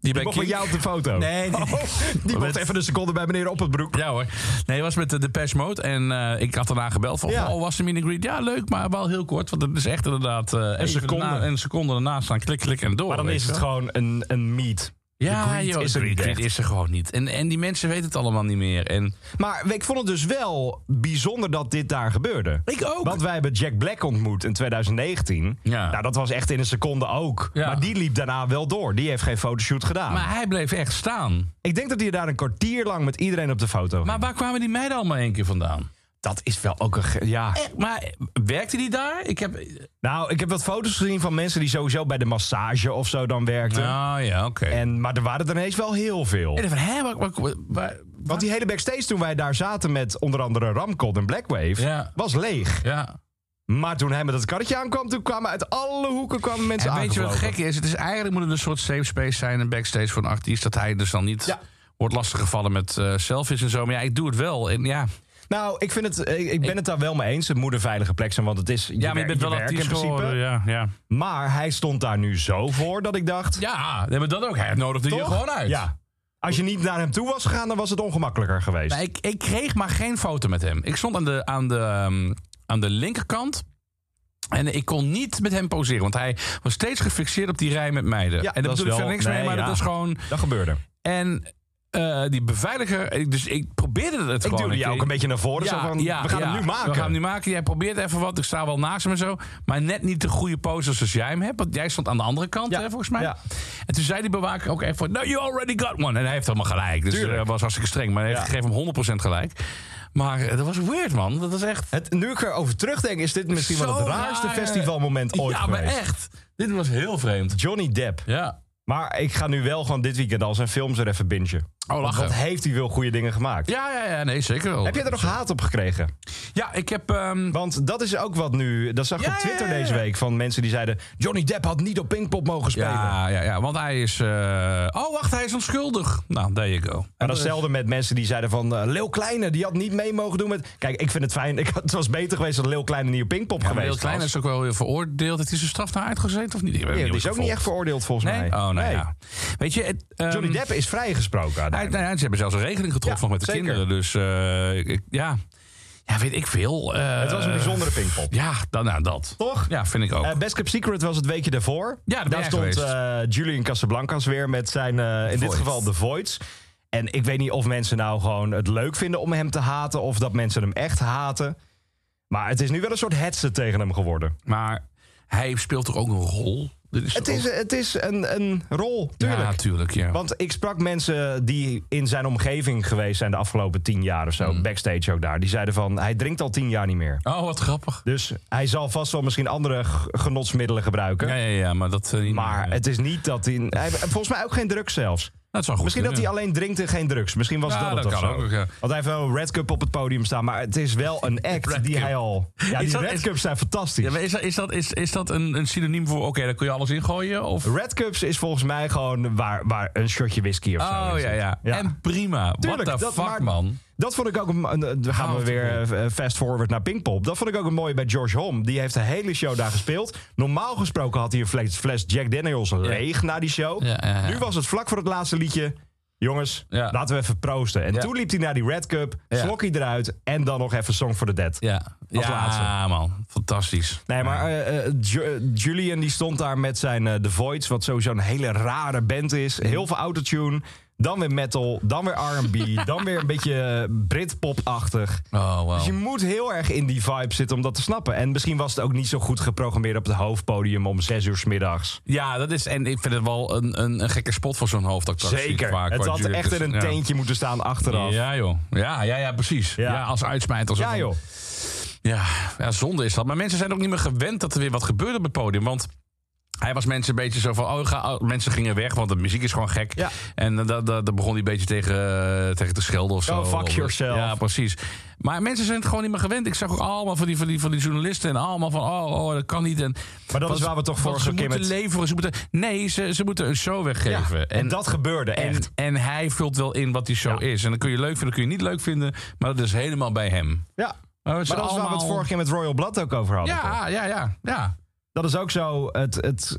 [SPEAKER 2] Die bij
[SPEAKER 3] Mocht met
[SPEAKER 2] Kink-
[SPEAKER 3] jou op de foto.
[SPEAKER 2] Nee, nee, nee.
[SPEAKER 3] Oh, die mocht even een seconde bij meneer op het broek.
[SPEAKER 2] Ja hoor. Nee, het was met de Depeche Mode. En eh, ik had daarna gebeld van,
[SPEAKER 3] Ja.
[SPEAKER 2] oh, was de meet and greet? Ja, leuk, maar wel heel kort. Want het is echt inderdaad... eh, even
[SPEAKER 3] seconde.
[SPEAKER 2] daarna- een seconde daarna staan, klik, klik en door.
[SPEAKER 3] Maar dan
[SPEAKER 2] weet
[SPEAKER 3] is
[SPEAKER 2] je
[SPEAKER 3] het
[SPEAKER 2] wel.
[SPEAKER 3] gewoon een, een meet.
[SPEAKER 2] Ja,
[SPEAKER 3] greed
[SPEAKER 2] joh,
[SPEAKER 3] is er
[SPEAKER 2] de
[SPEAKER 3] niet
[SPEAKER 2] greed
[SPEAKER 3] echt.
[SPEAKER 2] is er gewoon niet. En, en die mensen weten het allemaal niet meer. En
[SPEAKER 3] Maar ik vond het dus wel bijzonder dat dit daar gebeurde.
[SPEAKER 2] ik ook.
[SPEAKER 3] Want wij hebben Jack Black ontmoet in 2019.
[SPEAKER 2] Ja.
[SPEAKER 3] Nou, dat was echt in een seconde ook.
[SPEAKER 2] Ja.
[SPEAKER 3] Maar die liep daarna wel door. Die heeft geen fotoshoot gedaan.
[SPEAKER 2] Maar hij bleef echt staan.
[SPEAKER 3] Ik denk dat hij daar een kwartier lang met iedereen op de foto
[SPEAKER 2] Maar
[SPEAKER 3] ging.
[SPEAKER 2] waar kwamen die meiden allemaal één keer vandaan?
[SPEAKER 3] Dat is wel ook een... ge- Ja.
[SPEAKER 2] Eh, Maar werkte die daar? Ik heb...
[SPEAKER 3] Nou, ik heb wat foto's gezien van mensen die sowieso bij de massage of zo dan werkten.
[SPEAKER 2] Nou ja, oké. En
[SPEAKER 3] En, maar er waren er ineens wel heel veel.
[SPEAKER 2] dan van, hè, waar- waar- waar- waar-
[SPEAKER 3] Want die hele backstage toen wij daar zaten met onder andere Ramcod en Blackwave...
[SPEAKER 2] Ja.
[SPEAKER 3] was leeg.
[SPEAKER 2] Ja.
[SPEAKER 3] Maar toen hij met dat karretje aankwam, toen kwamen uit alle hoeken kwamen mensen
[SPEAKER 2] En
[SPEAKER 3] aan.
[SPEAKER 2] weet je wat gek is? Het is eigenlijk moet het een soort safe space zijn, een backstage voor een artiest, dat hij dus dan niet
[SPEAKER 3] Ja.
[SPEAKER 2] wordt lastiggevallen met eh selfies en zo. Maar ja, ik doe het wel. En ja,
[SPEAKER 3] Nou, ik, vind het, ik, ik ben het daar wel mee eens. Het moet een veilige plek zijn, want het is.
[SPEAKER 2] ja maar je bent wel
[SPEAKER 3] werkt
[SPEAKER 2] artiest geworden. Ja, ja.
[SPEAKER 3] Maar hij stond daar nu zo voor dat ik dacht.
[SPEAKER 2] ja, nee, maar dat ook. Hij nodigde je
[SPEAKER 3] toch?
[SPEAKER 2] gewoon uit.
[SPEAKER 3] Ja. Als je niet naar hem toe was gegaan, dan was het ongemakkelijker geweest.
[SPEAKER 2] Nou, ik, ik kreeg maar geen foto met hem. Ik stond aan de, aan de, ehm, aan de linkerkant. En ik kon niet met hem poseren. Want hij was steeds gefixeerd op die rij met meiden.
[SPEAKER 3] Ja,
[SPEAKER 2] en daar
[SPEAKER 3] dat is
[SPEAKER 2] bedoel ik verder
[SPEAKER 3] wel-
[SPEAKER 2] niks mee,
[SPEAKER 3] nee,
[SPEAKER 2] maar dat
[SPEAKER 3] ja.
[SPEAKER 2] is gewoon...
[SPEAKER 3] Dat gebeurde.
[SPEAKER 2] En eh, die beveiliger... ik- Dus ik probeerde het
[SPEAKER 3] Ik
[SPEAKER 2] gewoon.
[SPEAKER 3] duwde jou ook
[SPEAKER 2] keer.
[SPEAKER 3] een beetje naar voren. zo van, we gaan
[SPEAKER 2] ja.
[SPEAKER 3] hem nu maken.
[SPEAKER 2] We gaan hem nu maken. Jij probeert even wat. Ik sta wel naast hem en zo. Maar net niet de goede pose zoals jij hem hebt. Want jij stond aan de andere kant,
[SPEAKER 3] Ja,
[SPEAKER 2] hè, volgens mij.
[SPEAKER 3] ja.
[SPEAKER 2] En toen zei die bewaker ook even van... No, you already got one. En hij heeft helemaal gelijk. Dus
[SPEAKER 3] Tuurlijk.
[SPEAKER 2] dat was hartstikke streng. Maar hij heeft
[SPEAKER 3] Ja.
[SPEAKER 2] gegeven hem 100% gelijk. Maar eh, dat was weird, man. Dat was echt...
[SPEAKER 3] Het, nu ik erover terugdenk, is dit misschien wel
[SPEAKER 2] zo
[SPEAKER 3] het raarste
[SPEAKER 2] raar, eh,
[SPEAKER 3] festivalmoment ooit
[SPEAKER 2] ja,
[SPEAKER 3] geweest.
[SPEAKER 2] maar echt. Dit was heel vreemd.
[SPEAKER 3] Johnny Depp.
[SPEAKER 2] Ja.
[SPEAKER 3] Maar ik ga nu wel gewoon dit weekend al zijn films er even bingen.
[SPEAKER 2] Oh,
[SPEAKER 3] Want
[SPEAKER 2] lachen.
[SPEAKER 3] Wat heeft hij wel goede dingen gemaakt?
[SPEAKER 2] Ja, ja, ja. Nee, zeker wel.
[SPEAKER 3] Heb je er nog haat op gekregen?
[SPEAKER 2] Ja, ik heb... ehm,
[SPEAKER 3] Want dat is ook wat nu. Dat zag ik
[SPEAKER 2] Ja,
[SPEAKER 3] op Twitter
[SPEAKER 2] ja, ja, ja.
[SPEAKER 3] deze week van mensen die zeiden: Johnny Depp had niet op Pinkpop mogen spelen.
[SPEAKER 2] ja, ja, ja, want hij is... eh, Oh, wacht, hij is onschuldig. Nou, there you go.
[SPEAKER 3] Maar datzelfde met mensen die zeiden van eh Leeuw Kleine, die had niet mee mogen doen met. Kijk, ik vind het fijn. [LAUGHS] Ik, het was beter geweest dat Leeuw Kleine niet op Pinkpop
[SPEAKER 2] Ja, maar
[SPEAKER 3] geweest
[SPEAKER 2] Heel Klein
[SPEAKER 3] was.
[SPEAKER 2] is ook wel weer veroordeeld. Heeft hij zijn straf nou uitgezeten of niet? Ik weet
[SPEAKER 3] Ja,
[SPEAKER 2] niet
[SPEAKER 3] die
[SPEAKER 2] hoe
[SPEAKER 3] is ook niet echt veroordeeld volgens
[SPEAKER 2] Nee?
[SPEAKER 3] mij.
[SPEAKER 2] Oh, nou
[SPEAKER 3] Nee.
[SPEAKER 2] ja. Weet je... het, ehm,
[SPEAKER 3] Johnny Depp is vrijgesproken.
[SPEAKER 2] hij- nou
[SPEAKER 3] uiteindelijk.
[SPEAKER 2] ja, ze hebben zelfs een regeling getroffen
[SPEAKER 3] Ja,
[SPEAKER 2] met de
[SPEAKER 3] zeker.
[SPEAKER 2] kinderen. Dus eh, ik- ja. ja, weet ik veel. Eh,
[SPEAKER 3] het was een bijzondere Pinkpop.
[SPEAKER 2] Ja, dan, nou dat.
[SPEAKER 3] Toch?
[SPEAKER 2] Ja, vind ik ook.
[SPEAKER 3] Eh, Best Kept Secret was het weekje daarvoor.
[SPEAKER 2] Ja, daar ben
[SPEAKER 3] daar
[SPEAKER 2] jij
[SPEAKER 3] stond
[SPEAKER 2] geweest.
[SPEAKER 3] eh, Julian Casablancas weer met zijn, eh, in dit
[SPEAKER 2] Voids.
[SPEAKER 3] geval, The Voids. En ik weet niet of mensen nou gewoon het leuk vinden om hem te haten... of dat mensen hem echt haten. Maar het is nu wel een soort hetze tegen hem geworden.
[SPEAKER 2] maar hij speelt toch ook een rol? Dit is
[SPEAKER 3] Het
[SPEAKER 2] toch
[SPEAKER 3] is,
[SPEAKER 2] ook-
[SPEAKER 3] het is een, een rol, tuurlijk.
[SPEAKER 2] Ja, tuurlijk, ja.
[SPEAKER 3] Want ik sprak mensen die in zijn omgeving geweest zijn de afgelopen tien jaar of zo. Backstage ook daar. Die zeiden van, hij drinkt al tien jaar niet meer.
[SPEAKER 2] Oh, wat grappig.
[SPEAKER 3] Dus hij zal vast wel misschien andere g- genotsmiddelen gebruiken.
[SPEAKER 2] Ja, ja, ja, maar dat... eh, niet
[SPEAKER 3] Maar
[SPEAKER 2] meer.
[SPEAKER 3] het is niet dat hij.
[SPEAKER 2] [LAUGHS]
[SPEAKER 3] hij heeft volgens mij ook geen drugs zelfs.
[SPEAKER 2] dat zou goed
[SPEAKER 3] Misschien dat hij
[SPEAKER 2] kunnen.
[SPEAKER 3] alleen drinkt en geen drugs. Misschien was
[SPEAKER 2] Ja,
[SPEAKER 3] dat het
[SPEAKER 2] dat
[SPEAKER 3] of
[SPEAKER 2] kan
[SPEAKER 3] zo.
[SPEAKER 2] ook, ja.
[SPEAKER 3] Want hij heeft wel een Red Cup op het podium staan. Maar het is wel een act
[SPEAKER 2] Red
[SPEAKER 3] die
[SPEAKER 2] Cup.
[SPEAKER 3] hij al... Ja,
[SPEAKER 2] Is
[SPEAKER 3] die
[SPEAKER 2] dat-
[SPEAKER 3] Red
[SPEAKER 2] is-
[SPEAKER 3] Cups zijn fantastisch.
[SPEAKER 2] Ja, maar is dat, is dat, is, is dat een, een synoniem voor... Oké, daar kun je alles in gooien? Of...
[SPEAKER 3] Red Cups is volgens mij gewoon waar, waar een shotje whisky of zo
[SPEAKER 2] Oh
[SPEAKER 3] in
[SPEAKER 2] ja,
[SPEAKER 3] zit.
[SPEAKER 2] ja, En prima. Wat
[SPEAKER 3] Tuurlijk,
[SPEAKER 2] de
[SPEAKER 3] dat
[SPEAKER 2] fuck,
[SPEAKER 3] maakt-
[SPEAKER 2] man.
[SPEAKER 3] Dat vond ik ook een. een- Dan gaan we
[SPEAKER 2] wat
[SPEAKER 3] weer
[SPEAKER 2] een
[SPEAKER 3] eh, fast forward naar Pinkpop. Dat vond ik ook een mooie bij George Hom. Die heeft de hele show daar gespeeld. Normaal gesproken had hij een fles, fles Jack Daniels leeg na die show.
[SPEAKER 2] Ja, ja, ja.
[SPEAKER 3] Nu was het vlak voor het laatste liedje. Jongens,
[SPEAKER 2] Ja.
[SPEAKER 3] laten we even proosten. En
[SPEAKER 2] Ja.
[SPEAKER 3] toen liep hij naar die Red Cup,
[SPEAKER 2] Ja.
[SPEAKER 3] slok hij eruit en dan nog even Song for the Dead.
[SPEAKER 2] Ja,
[SPEAKER 3] Als
[SPEAKER 2] ja
[SPEAKER 3] laatste.
[SPEAKER 2] man. Fantastisch.
[SPEAKER 3] Nee, maar eh, eh, Ju- eh, Julian die stond daar met zijn eh, The Voids, wat sowieso een hele rare band is. Heel veel autotune, dan weer metal, dan weer [LAUGHS] R&B, dan weer een beetje eh, Britpop-achtig.
[SPEAKER 2] Oh, wow.
[SPEAKER 3] Dus je moet heel erg in die vibe zitten om dat te snappen. En misschien was het ook niet zo goed geprogrammeerd op het hoofdpodium om zes uur 's middags.
[SPEAKER 2] Ja, dat is. En ik vind het wel een, een, een gekke spot voor zo'n hoofdacteur.
[SPEAKER 3] Het had echt in een teentje moeten staan achteraf. Ja,
[SPEAKER 2] Ja, joh. Ja, ja, ja precies. Ja,
[SPEAKER 3] Ja.
[SPEAKER 2] als uitsmijter. zo van-
[SPEAKER 3] joh.
[SPEAKER 2] Ja, ja, zonde is dat. Maar mensen zijn ook niet meer gewend dat er weer wat gebeurde op het podium. Want hij was mensen een beetje zo van... Oh, ga- oh, mensen gingen weg, want de muziek is gewoon gek.
[SPEAKER 3] Ja.
[SPEAKER 2] En eh, dat dat- dat begon hij een beetje tegen, eh, tegen te schelden of zo.
[SPEAKER 3] Oh, fuck yourself.
[SPEAKER 2] Ja, precies. Maar mensen zijn het gewoon niet meer gewend. Ik zag ook allemaal van die, van die, van die journalisten... en allemaal van, oh, oh, dat kan niet. En,
[SPEAKER 3] Maar dat is waar we toch
[SPEAKER 2] voor
[SPEAKER 3] vorige
[SPEAKER 2] ze
[SPEAKER 3] keer
[SPEAKER 2] moeten
[SPEAKER 3] met-
[SPEAKER 2] leveren. Ze moeten, nee, ze, ze moeten een show
[SPEAKER 3] Ja,
[SPEAKER 2] weggeven.
[SPEAKER 3] en, dat gebeurde
[SPEAKER 2] en,
[SPEAKER 3] echt.
[SPEAKER 2] en hij vult wel in wat die show is. En dan kun je leuk vinden, dan kun je niet leuk vinden. Maar dat is helemaal bij hem.
[SPEAKER 3] ja.
[SPEAKER 2] Maar, het
[SPEAKER 3] Maar dat is waar we het vorige keer met Royal Blood ook over hadden. toch?
[SPEAKER 2] ja, ja, ja, ja.
[SPEAKER 3] Dat is ook zo. Het, het,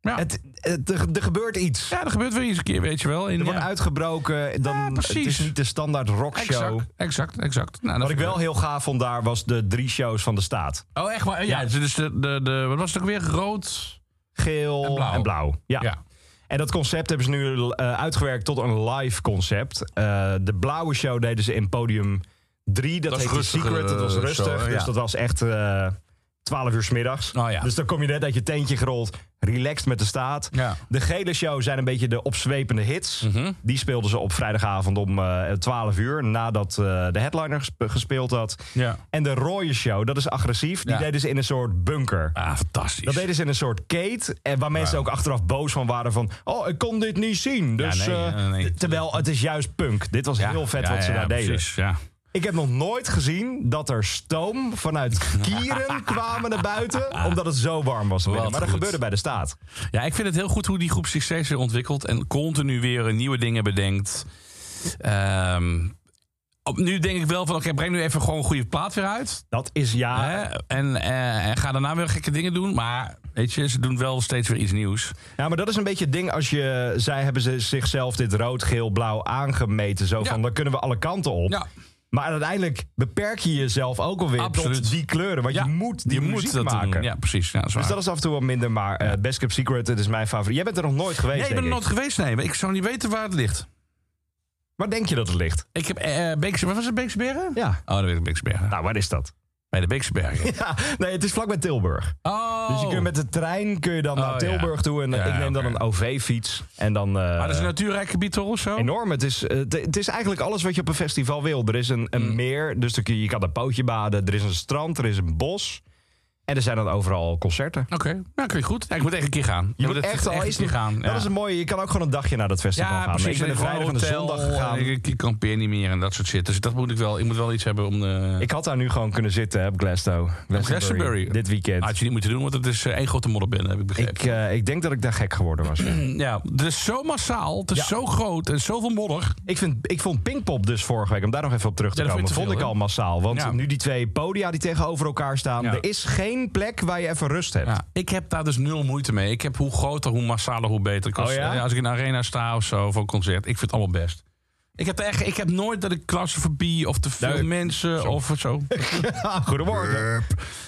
[SPEAKER 2] Ja.
[SPEAKER 3] het, het- er, er gebeurt iets.
[SPEAKER 2] ja, er gebeurt weer eens een keer, weet je wel. In,
[SPEAKER 3] Er wordt
[SPEAKER 2] ja.
[SPEAKER 3] uitgebroken. Dan,
[SPEAKER 2] Ja, precies.
[SPEAKER 3] Het is niet de standaard rockshow.
[SPEAKER 2] Exact, exact, exact. Nou, dat
[SPEAKER 3] Wat ik
[SPEAKER 2] vind
[SPEAKER 3] wel heel gaaf vond daar was de drie shows van de staat.
[SPEAKER 2] Oh, echt waar? Ja, dus de, de, de, wat was het ook weer? Rood
[SPEAKER 3] Geel en
[SPEAKER 2] En blauw.
[SPEAKER 3] blauw. Ja.
[SPEAKER 2] Ja.
[SPEAKER 3] En dat concept hebben ze nu eh, uitgewerkt tot een live concept. Eh, de blauwe show deden ze in podium 3. Dat,
[SPEAKER 2] Dat is
[SPEAKER 3] heette
[SPEAKER 2] rustiger,
[SPEAKER 3] Secret. Dat was
[SPEAKER 2] eh,
[SPEAKER 3] rustig.
[SPEAKER 2] show, hè?
[SPEAKER 3] dus
[SPEAKER 2] Ja.
[SPEAKER 3] dat was echt eh 12 uur 's middags.
[SPEAKER 2] Oh ja.
[SPEAKER 3] Dus dan kom je net uit je tentje gerold. Relaxed met de staat.
[SPEAKER 2] Ja. Mhm.
[SPEAKER 3] De gele show zijn een beetje de opzwepende hits. Die speelden ze op vrijdagavond om eh 12 uur. Nadat eh, de headliner gespe- gespeeld had.
[SPEAKER 2] Ja.
[SPEAKER 3] En de rode show, dat is agressief. Die
[SPEAKER 2] Ja.
[SPEAKER 3] deden ze in een soort bunker.
[SPEAKER 2] Ah, fantastisch.
[SPEAKER 3] Dat deden ze in een soort kate. En waar mensen ook achteraf boos van waren van... Oh, ik kon dit niet zien. Dus,
[SPEAKER 2] nee,
[SPEAKER 3] eh,
[SPEAKER 2] eh, nee.
[SPEAKER 3] t- Terwijl het is juist punk. Dit was
[SPEAKER 2] Ja,
[SPEAKER 3] heel vet
[SPEAKER 2] ja,
[SPEAKER 3] wat ze
[SPEAKER 2] ja,
[SPEAKER 3] daar deden.
[SPEAKER 2] Precies, ja.
[SPEAKER 3] Ik heb nog nooit gezien dat er stoom
[SPEAKER 2] [LAUGHS]
[SPEAKER 3] vanuit kieren kwamen naar buiten. Omdat het zo warm was. binnen.
[SPEAKER 2] Wat
[SPEAKER 3] Maar dat
[SPEAKER 2] goed.
[SPEAKER 3] gebeurde bij de staat.
[SPEAKER 2] ja, ik vind het heel goed hoe die groep zich steeds weer ontwikkelt en continu weer nieuwe dingen bedenkt. Ehm, op, nu denk ik wel van, oké, breng nu even gewoon een goede plaat weer uit.
[SPEAKER 3] Dat is ja...
[SPEAKER 2] Hè? En, eh, en ga daarna weer gekke dingen doen. Maar weet je, ze doen wel steeds weer iets nieuws.
[SPEAKER 3] Ja, maar dat is een beetje het ding als je... Zij hebben ze zichzelf dit rood, geel, blauw aangemeten. Zo
[SPEAKER 2] Ja.
[SPEAKER 3] van, dan kunnen we alle kanten op.
[SPEAKER 2] Ja,
[SPEAKER 3] Maar uiteindelijk beperk je jezelf ook alweer tot
[SPEAKER 2] Absoluut.
[SPEAKER 3] die kleuren. Want
[SPEAKER 2] Ja,
[SPEAKER 3] je moet die muziek maken.
[SPEAKER 2] doen. Ja, precies. Ja, dat is
[SPEAKER 3] Dus
[SPEAKER 2] waar.
[SPEAKER 3] dat is af en toe wat minder. Maar eh, Best Kept Secret, het is mijn favoriet. Jij bent er nog nooit geweest,
[SPEAKER 2] Nee,
[SPEAKER 3] denk
[SPEAKER 2] ik ben er nooit geweest. Nee, maar ik zou niet weten waar het ligt.
[SPEAKER 3] Waar denk je dat het ligt?
[SPEAKER 2] Ik heb eh eh, Beekse... Wat was het, Beekse Bergen?
[SPEAKER 3] Ja.
[SPEAKER 2] Oh, dat weet ik, Beekse Bergen.
[SPEAKER 3] Nou, waar is dat?
[SPEAKER 2] Bij de Beekse Bergen.
[SPEAKER 3] [LAUGHS] Ja, nee, het is vlakbij Tilburg.
[SPEAKER 2] Oh.
[SPEAKER 3] Dus je kunt met de trein kun je dan naar
[SPEAKER 2] Oh,
[SPEAKER 3] Tilburg
[SPEAKER 2] ja.
[SPEAKER 3] toe. En eh,
[SPEAKER 2] Ja,
[SPEAKER 3] ik neem dan
[SPEAKER 2] oké.
[SPEAKER 3] een OV-fiets. En dan... eh,
[SPEAKER 2] Maar Nou, dat is een natuurrijk gebied toch of zo?
[SPEAKER 3] Enorm. Het is, eh, het- het is eigenlijk alles wat je op een festival wil. Er is een, een
[SPEAKER 2] Mm.
[SPEAKER 3] meer, dus dan kun je, je kan een pootje baden. Er is een strand, er is een bos. En er zijn dan overal concerten.
[SPEAKER 2] Oké, nou kun je goed. Ja, ik moet echt een keer gaan.
[SPEAKER 3] Je
[SPEAKER 2] Ik
[SPEAKER 3] moet echt al
[SPEAKER 2] een
[SPEAKER 3] eens
[SPEAKER 2] keer gaan.
[SPEAKER 3] Dat
[SPEAKER 2] ja.
[SPEAKER 3] is een mooie. Je kan ook gewoon een dagje naar dat festival
[SPEAKER 2] ja,
[SPEAKER 3] gaan.
[SPEAKER 2] precies.
[SPEAKER 3] ik ben de
[SPEAKER 2] En
[SPEAKER 3] vrijdag en de
[SPEAKER 2] hotel,
[SPEAKER 3] zondag gegaan.
[SPEAKER 2] en Ik, ik kampeer niet meer en dat soort shit. Dus dat moet ik wel. Ik moet wel iets hebben om eh, de.
[SPEAKER 3] Ik had daar nu gewoon kunnen zitten hè, op Glasgow.
[SPEAKER 2] Glastonbury.
[SPEAKER 3] Dit weekend.
[SPEAKER 2] Had je niet moeten doen, want het is eh, één grote modderbinnen, heb ik begrepen.
[SPEAKER 3] Ik, eh, ik denk dat ik daar gek geworden was. ja. [CLEARS THROAT]
[SPEAKER 2] ja, het is zo massaal, het is
[SPEAKER 3] Ja.
[SPEAKER 2] zo groot en zoveel modder.
[SPEAKER 3] ik, vind, ik vond Pinkpop dus vorige week, om daar nog even op terug te
[SPEAKER 2] Ja, dat
[SPEAKER 3] komen,
[SPEAKER 2] vind
[SPEAKER 3] vond
[SPEAKER 2] ik te
[SPEAKER 3] ik
[SPEAKER 2] veel,
[SPEAKER 3] al massaal. Want
[SPEAKER 2] Ja.
[SPEAKER 3] nu die twee podia die tegenover elkaar staan,
[SPEAKER 2] Ja.
[SPEAKER 3] er is geen plek waar je even rust hebt.
[SPEAKER 2] Ja, ik heb daar dus nul moeite mee. Ik heb hoe groter, hoe massaler, hoe beter. Ik was-
[SPEAKER 3] Oh ja?
[SPEAKER 2] eh, Als ik in een arena sta of zo, voor een concert, ik vind het allemaal best. Ik heb, daar echt, ik heb nooit dat ik claustrofobie of te veel
[SPEAKER 3] Nee.
[SPEAKER 2] mensen
[SPEAKER 3] [LAUGHS]
[SPEAKER 2] of zo.
[SPEAKER 3] Ah, Goedemorgen.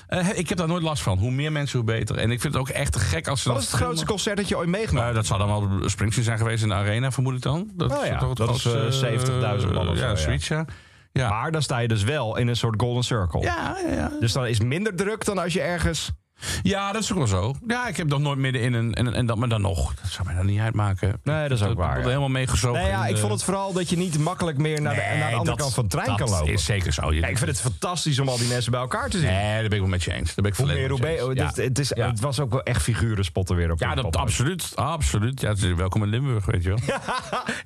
[SPEAKER 2] Eh, ik heb daar nooit last van. Hoe meer mensen, hoe beter. En ik vind het ook echt te gek als ze
[SPEAKER 3] Wat
[SPEAKER 2] dat
[SPEAKER 3] is het grootste
[SPEAKER 2] filmen.
[SPEAKER 3] concert dat je ooit meegenomen
[SPEAKER 2] Eh, dat zou dan wel Springsteen zijn geweest in de arena, vermoed ik dan. Dat
[SPEAKER 3] Oh ja,
[SPEAKER 2] toch het
[SPEAKER 3] dat is,
[SPEAKER 2] grootste, eh,
[SPEAKER 3] eh, 70.000 man of zo,
[SPEAKER 2] Ja,
[SPEAKER 3] ja.
[SPEAKER 2] zoiets, ja. Ja.
[SPEAKER 3] Maar dan sta je dus wel in een soort golden circle.
[SPEAKER 2] ja, ja, ja.
[SPEAKER 3] Dus dan is minder druk dan als je ergens...
[SPEAKER 2] Ja, dat is ook wel zo. Ja, ik heb nog nooit midden in een... En, en dat, maar dan nog. Dat zou mij dan niet uitmaken.
[SPEAKER 3] Nee, dat is ook
[SPEAKER 2] Ik
[SPEAKER 3] waar,
[SPEAKER 2] word
[SPEAKER 3] ja.
[SPEAKER 2] helemaal meegezogen.
[SPEAKER 3] Nou ja,
[SPEAKER 2] in
[SPEAKER 3] ik
[SPEAKER 2] de-
[SPEAKER 3] vond het vooral dat je niet makkelijk meer naar de,
[SPEAKER 2] Nee,
[SPEAKER 3] naar de andere
[SPEAKER 2] dat-
[SPEAKER 3] kant van de trein kan lopen.
[SPEAKER 2] Dat is zeker zo. Je-
[SPEAKER 3] Ja, ik vind het fantastisch om al die mensen bij elkaar te zien.
[SPEAKER 2] Nee, daar ben ik wel met je eens. Daar ben ik
[SPEAKER 3] Hoe meer,
[SPEAKER 2] volledig
[SPEAKER 3] hoe
[SPEAKER 2] met je
[SPEAKER 3] beter.
[SPEAKER 2] eens.
[SPEAKER 3] Dus
[SPEAKER 2] Ja.
[SPEAKER 3] Het, is,
[SPEAKER 2] Ja.
[SPEAKER 3] het was ook wel echt figuren spotten weer op
[SPEAKER 2] Ja,
[SPEAKER 3] Pinkpop
[SPEAKER 2] dat,
[SPEAKER 3] ook.
[SPEAKER 2] absoluut. Absoluut. Ja, het is- welkom in Limburg, weet je wel. Ja,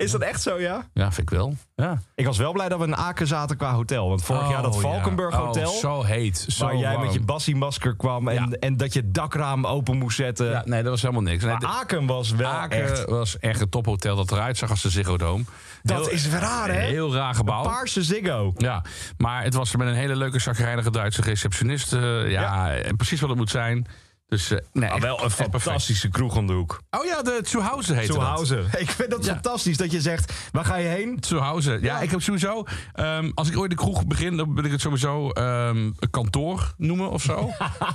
[SPEAKER 3] [LAUGHS] Is dat echt zo, ja?
[SPEAKER 2] vind ik wel. Ja.
[SPEAKER 3] Ik was wel blij dat we in Aken zaten qua hotel. Want vorig jaar dat
[SPEAKER 2] Oh, ja.
[SPEAKER 3] Valkenburg
[SPEAKER 2] Oh,
[SPEAKER 3] Hotel...
[SPEAKER 2] zo heet. Zo
[SPEAKER 3] waar jij met
[SPEAKER 2] warm.
[SPEAKER 3] je bassiemasker kwam en,
[SPEAKER 2] Ja.
[SPEAKER 3] en dat je het dakraam open moest zetten.
[SPEAKER 2] Ja, nee, dat was helemaal niks. Nee,
[SPEAKER 3] maar
[SPEAKER 2] de-
[SPEAKER 3] Aken was wel
[SPEAKER 2] Aken
[SPEAKER 3] echt...
[SPEAKER 2] was echt een tophotel dat eruit zag als de Ziggo Dome.
[SPEAKER 3] Dat
[SPEAKER 2] Heel-
[SPEAKER 3] is raar, hè?
[SPEAKER 2] Heel raar gebouw.
[SPEAKER 3] Paarse Ziggo.
[SPEAKER 2] Ja, maar het was met een hele leuke chagrijnige Duitse receptionist. eh, ja, eh, precies wat het moet zijn. Dus eh, nee,
[SPEAKER 3] Maar wel een
[SPEAKER 2] echt perfect.
[SPEAKER 3] fantastische kroeg om de hoek.
[SPEAKER 2] Oh ja, de Zuhause heette dat.
[SPEAKER 3] Zuhauser. [LAUGHS] Ik vind dat
[SPEAKER 2] Ja.
[SPEAKER 3] fantastisch dat je zegt, waar ga je heen?
[SPEAKER 2] Zuhause. Ja,
[SPEAKER 3] Ja.
[SPEAKER 2] ik heb sowieso... ehm, als ik ooit de kroeg begin, dan wil ik het sowieso ehm, een kantoor noemen of
[SPEAKER 3] [LAUGHS]
[SPEAKER 2] zo.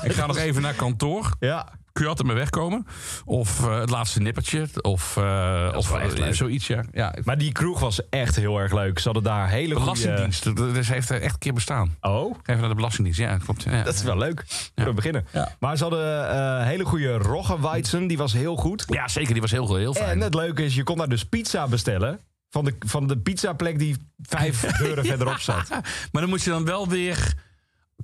[SPEAKER 2] ik ga
[SPEAKER 3] dus-
[SPEAKER 2] nog even naar kantoor.
[SPEAKER 3] Ja.
[SPEAKER 2] Kun je altijd mee wegkomen. Of eh, het laatste nippertje. Of, eh, of
[SPEAKER 3] wel echt
[SPEAKER 2] eh,
[SPEAKER 3] leuk.
[SPEAKER 2] zoiets, ja. ja.
[SPEAKER 3] Maar die kroeg was echt heel erg leuk. Ze hadden daar hele goede...
[SPEAKER 2] Belastingdienst. Dat dat heeft eh, echt een keer bestaan.
[SPEAKER 3] Oh,
[SPEAKER 2] Even naar de Belastingdienst, ja, klopt. Ja.
[SPEAKER 3] dat is wel leuk. Kunnen we beginnen.
[SPEAKER 2] Ja.
[SPEAKER 3] Maar ze hadden eh hele goede Roggenweizen. Die was heel goed.
[SPEAKER 2] Ja, zeker. Die was heel, heel fijn.
[SPEAKER 3] En het leuke is, je kon daar dus pizza bestellen. Van de, van de pizzaplek die
[SPEAKER 2] [LAUGHS]
[SPEAKER 3] vijf deuren verderop zat.
[SPEAKER 2] Maar dan moet je dan wel weer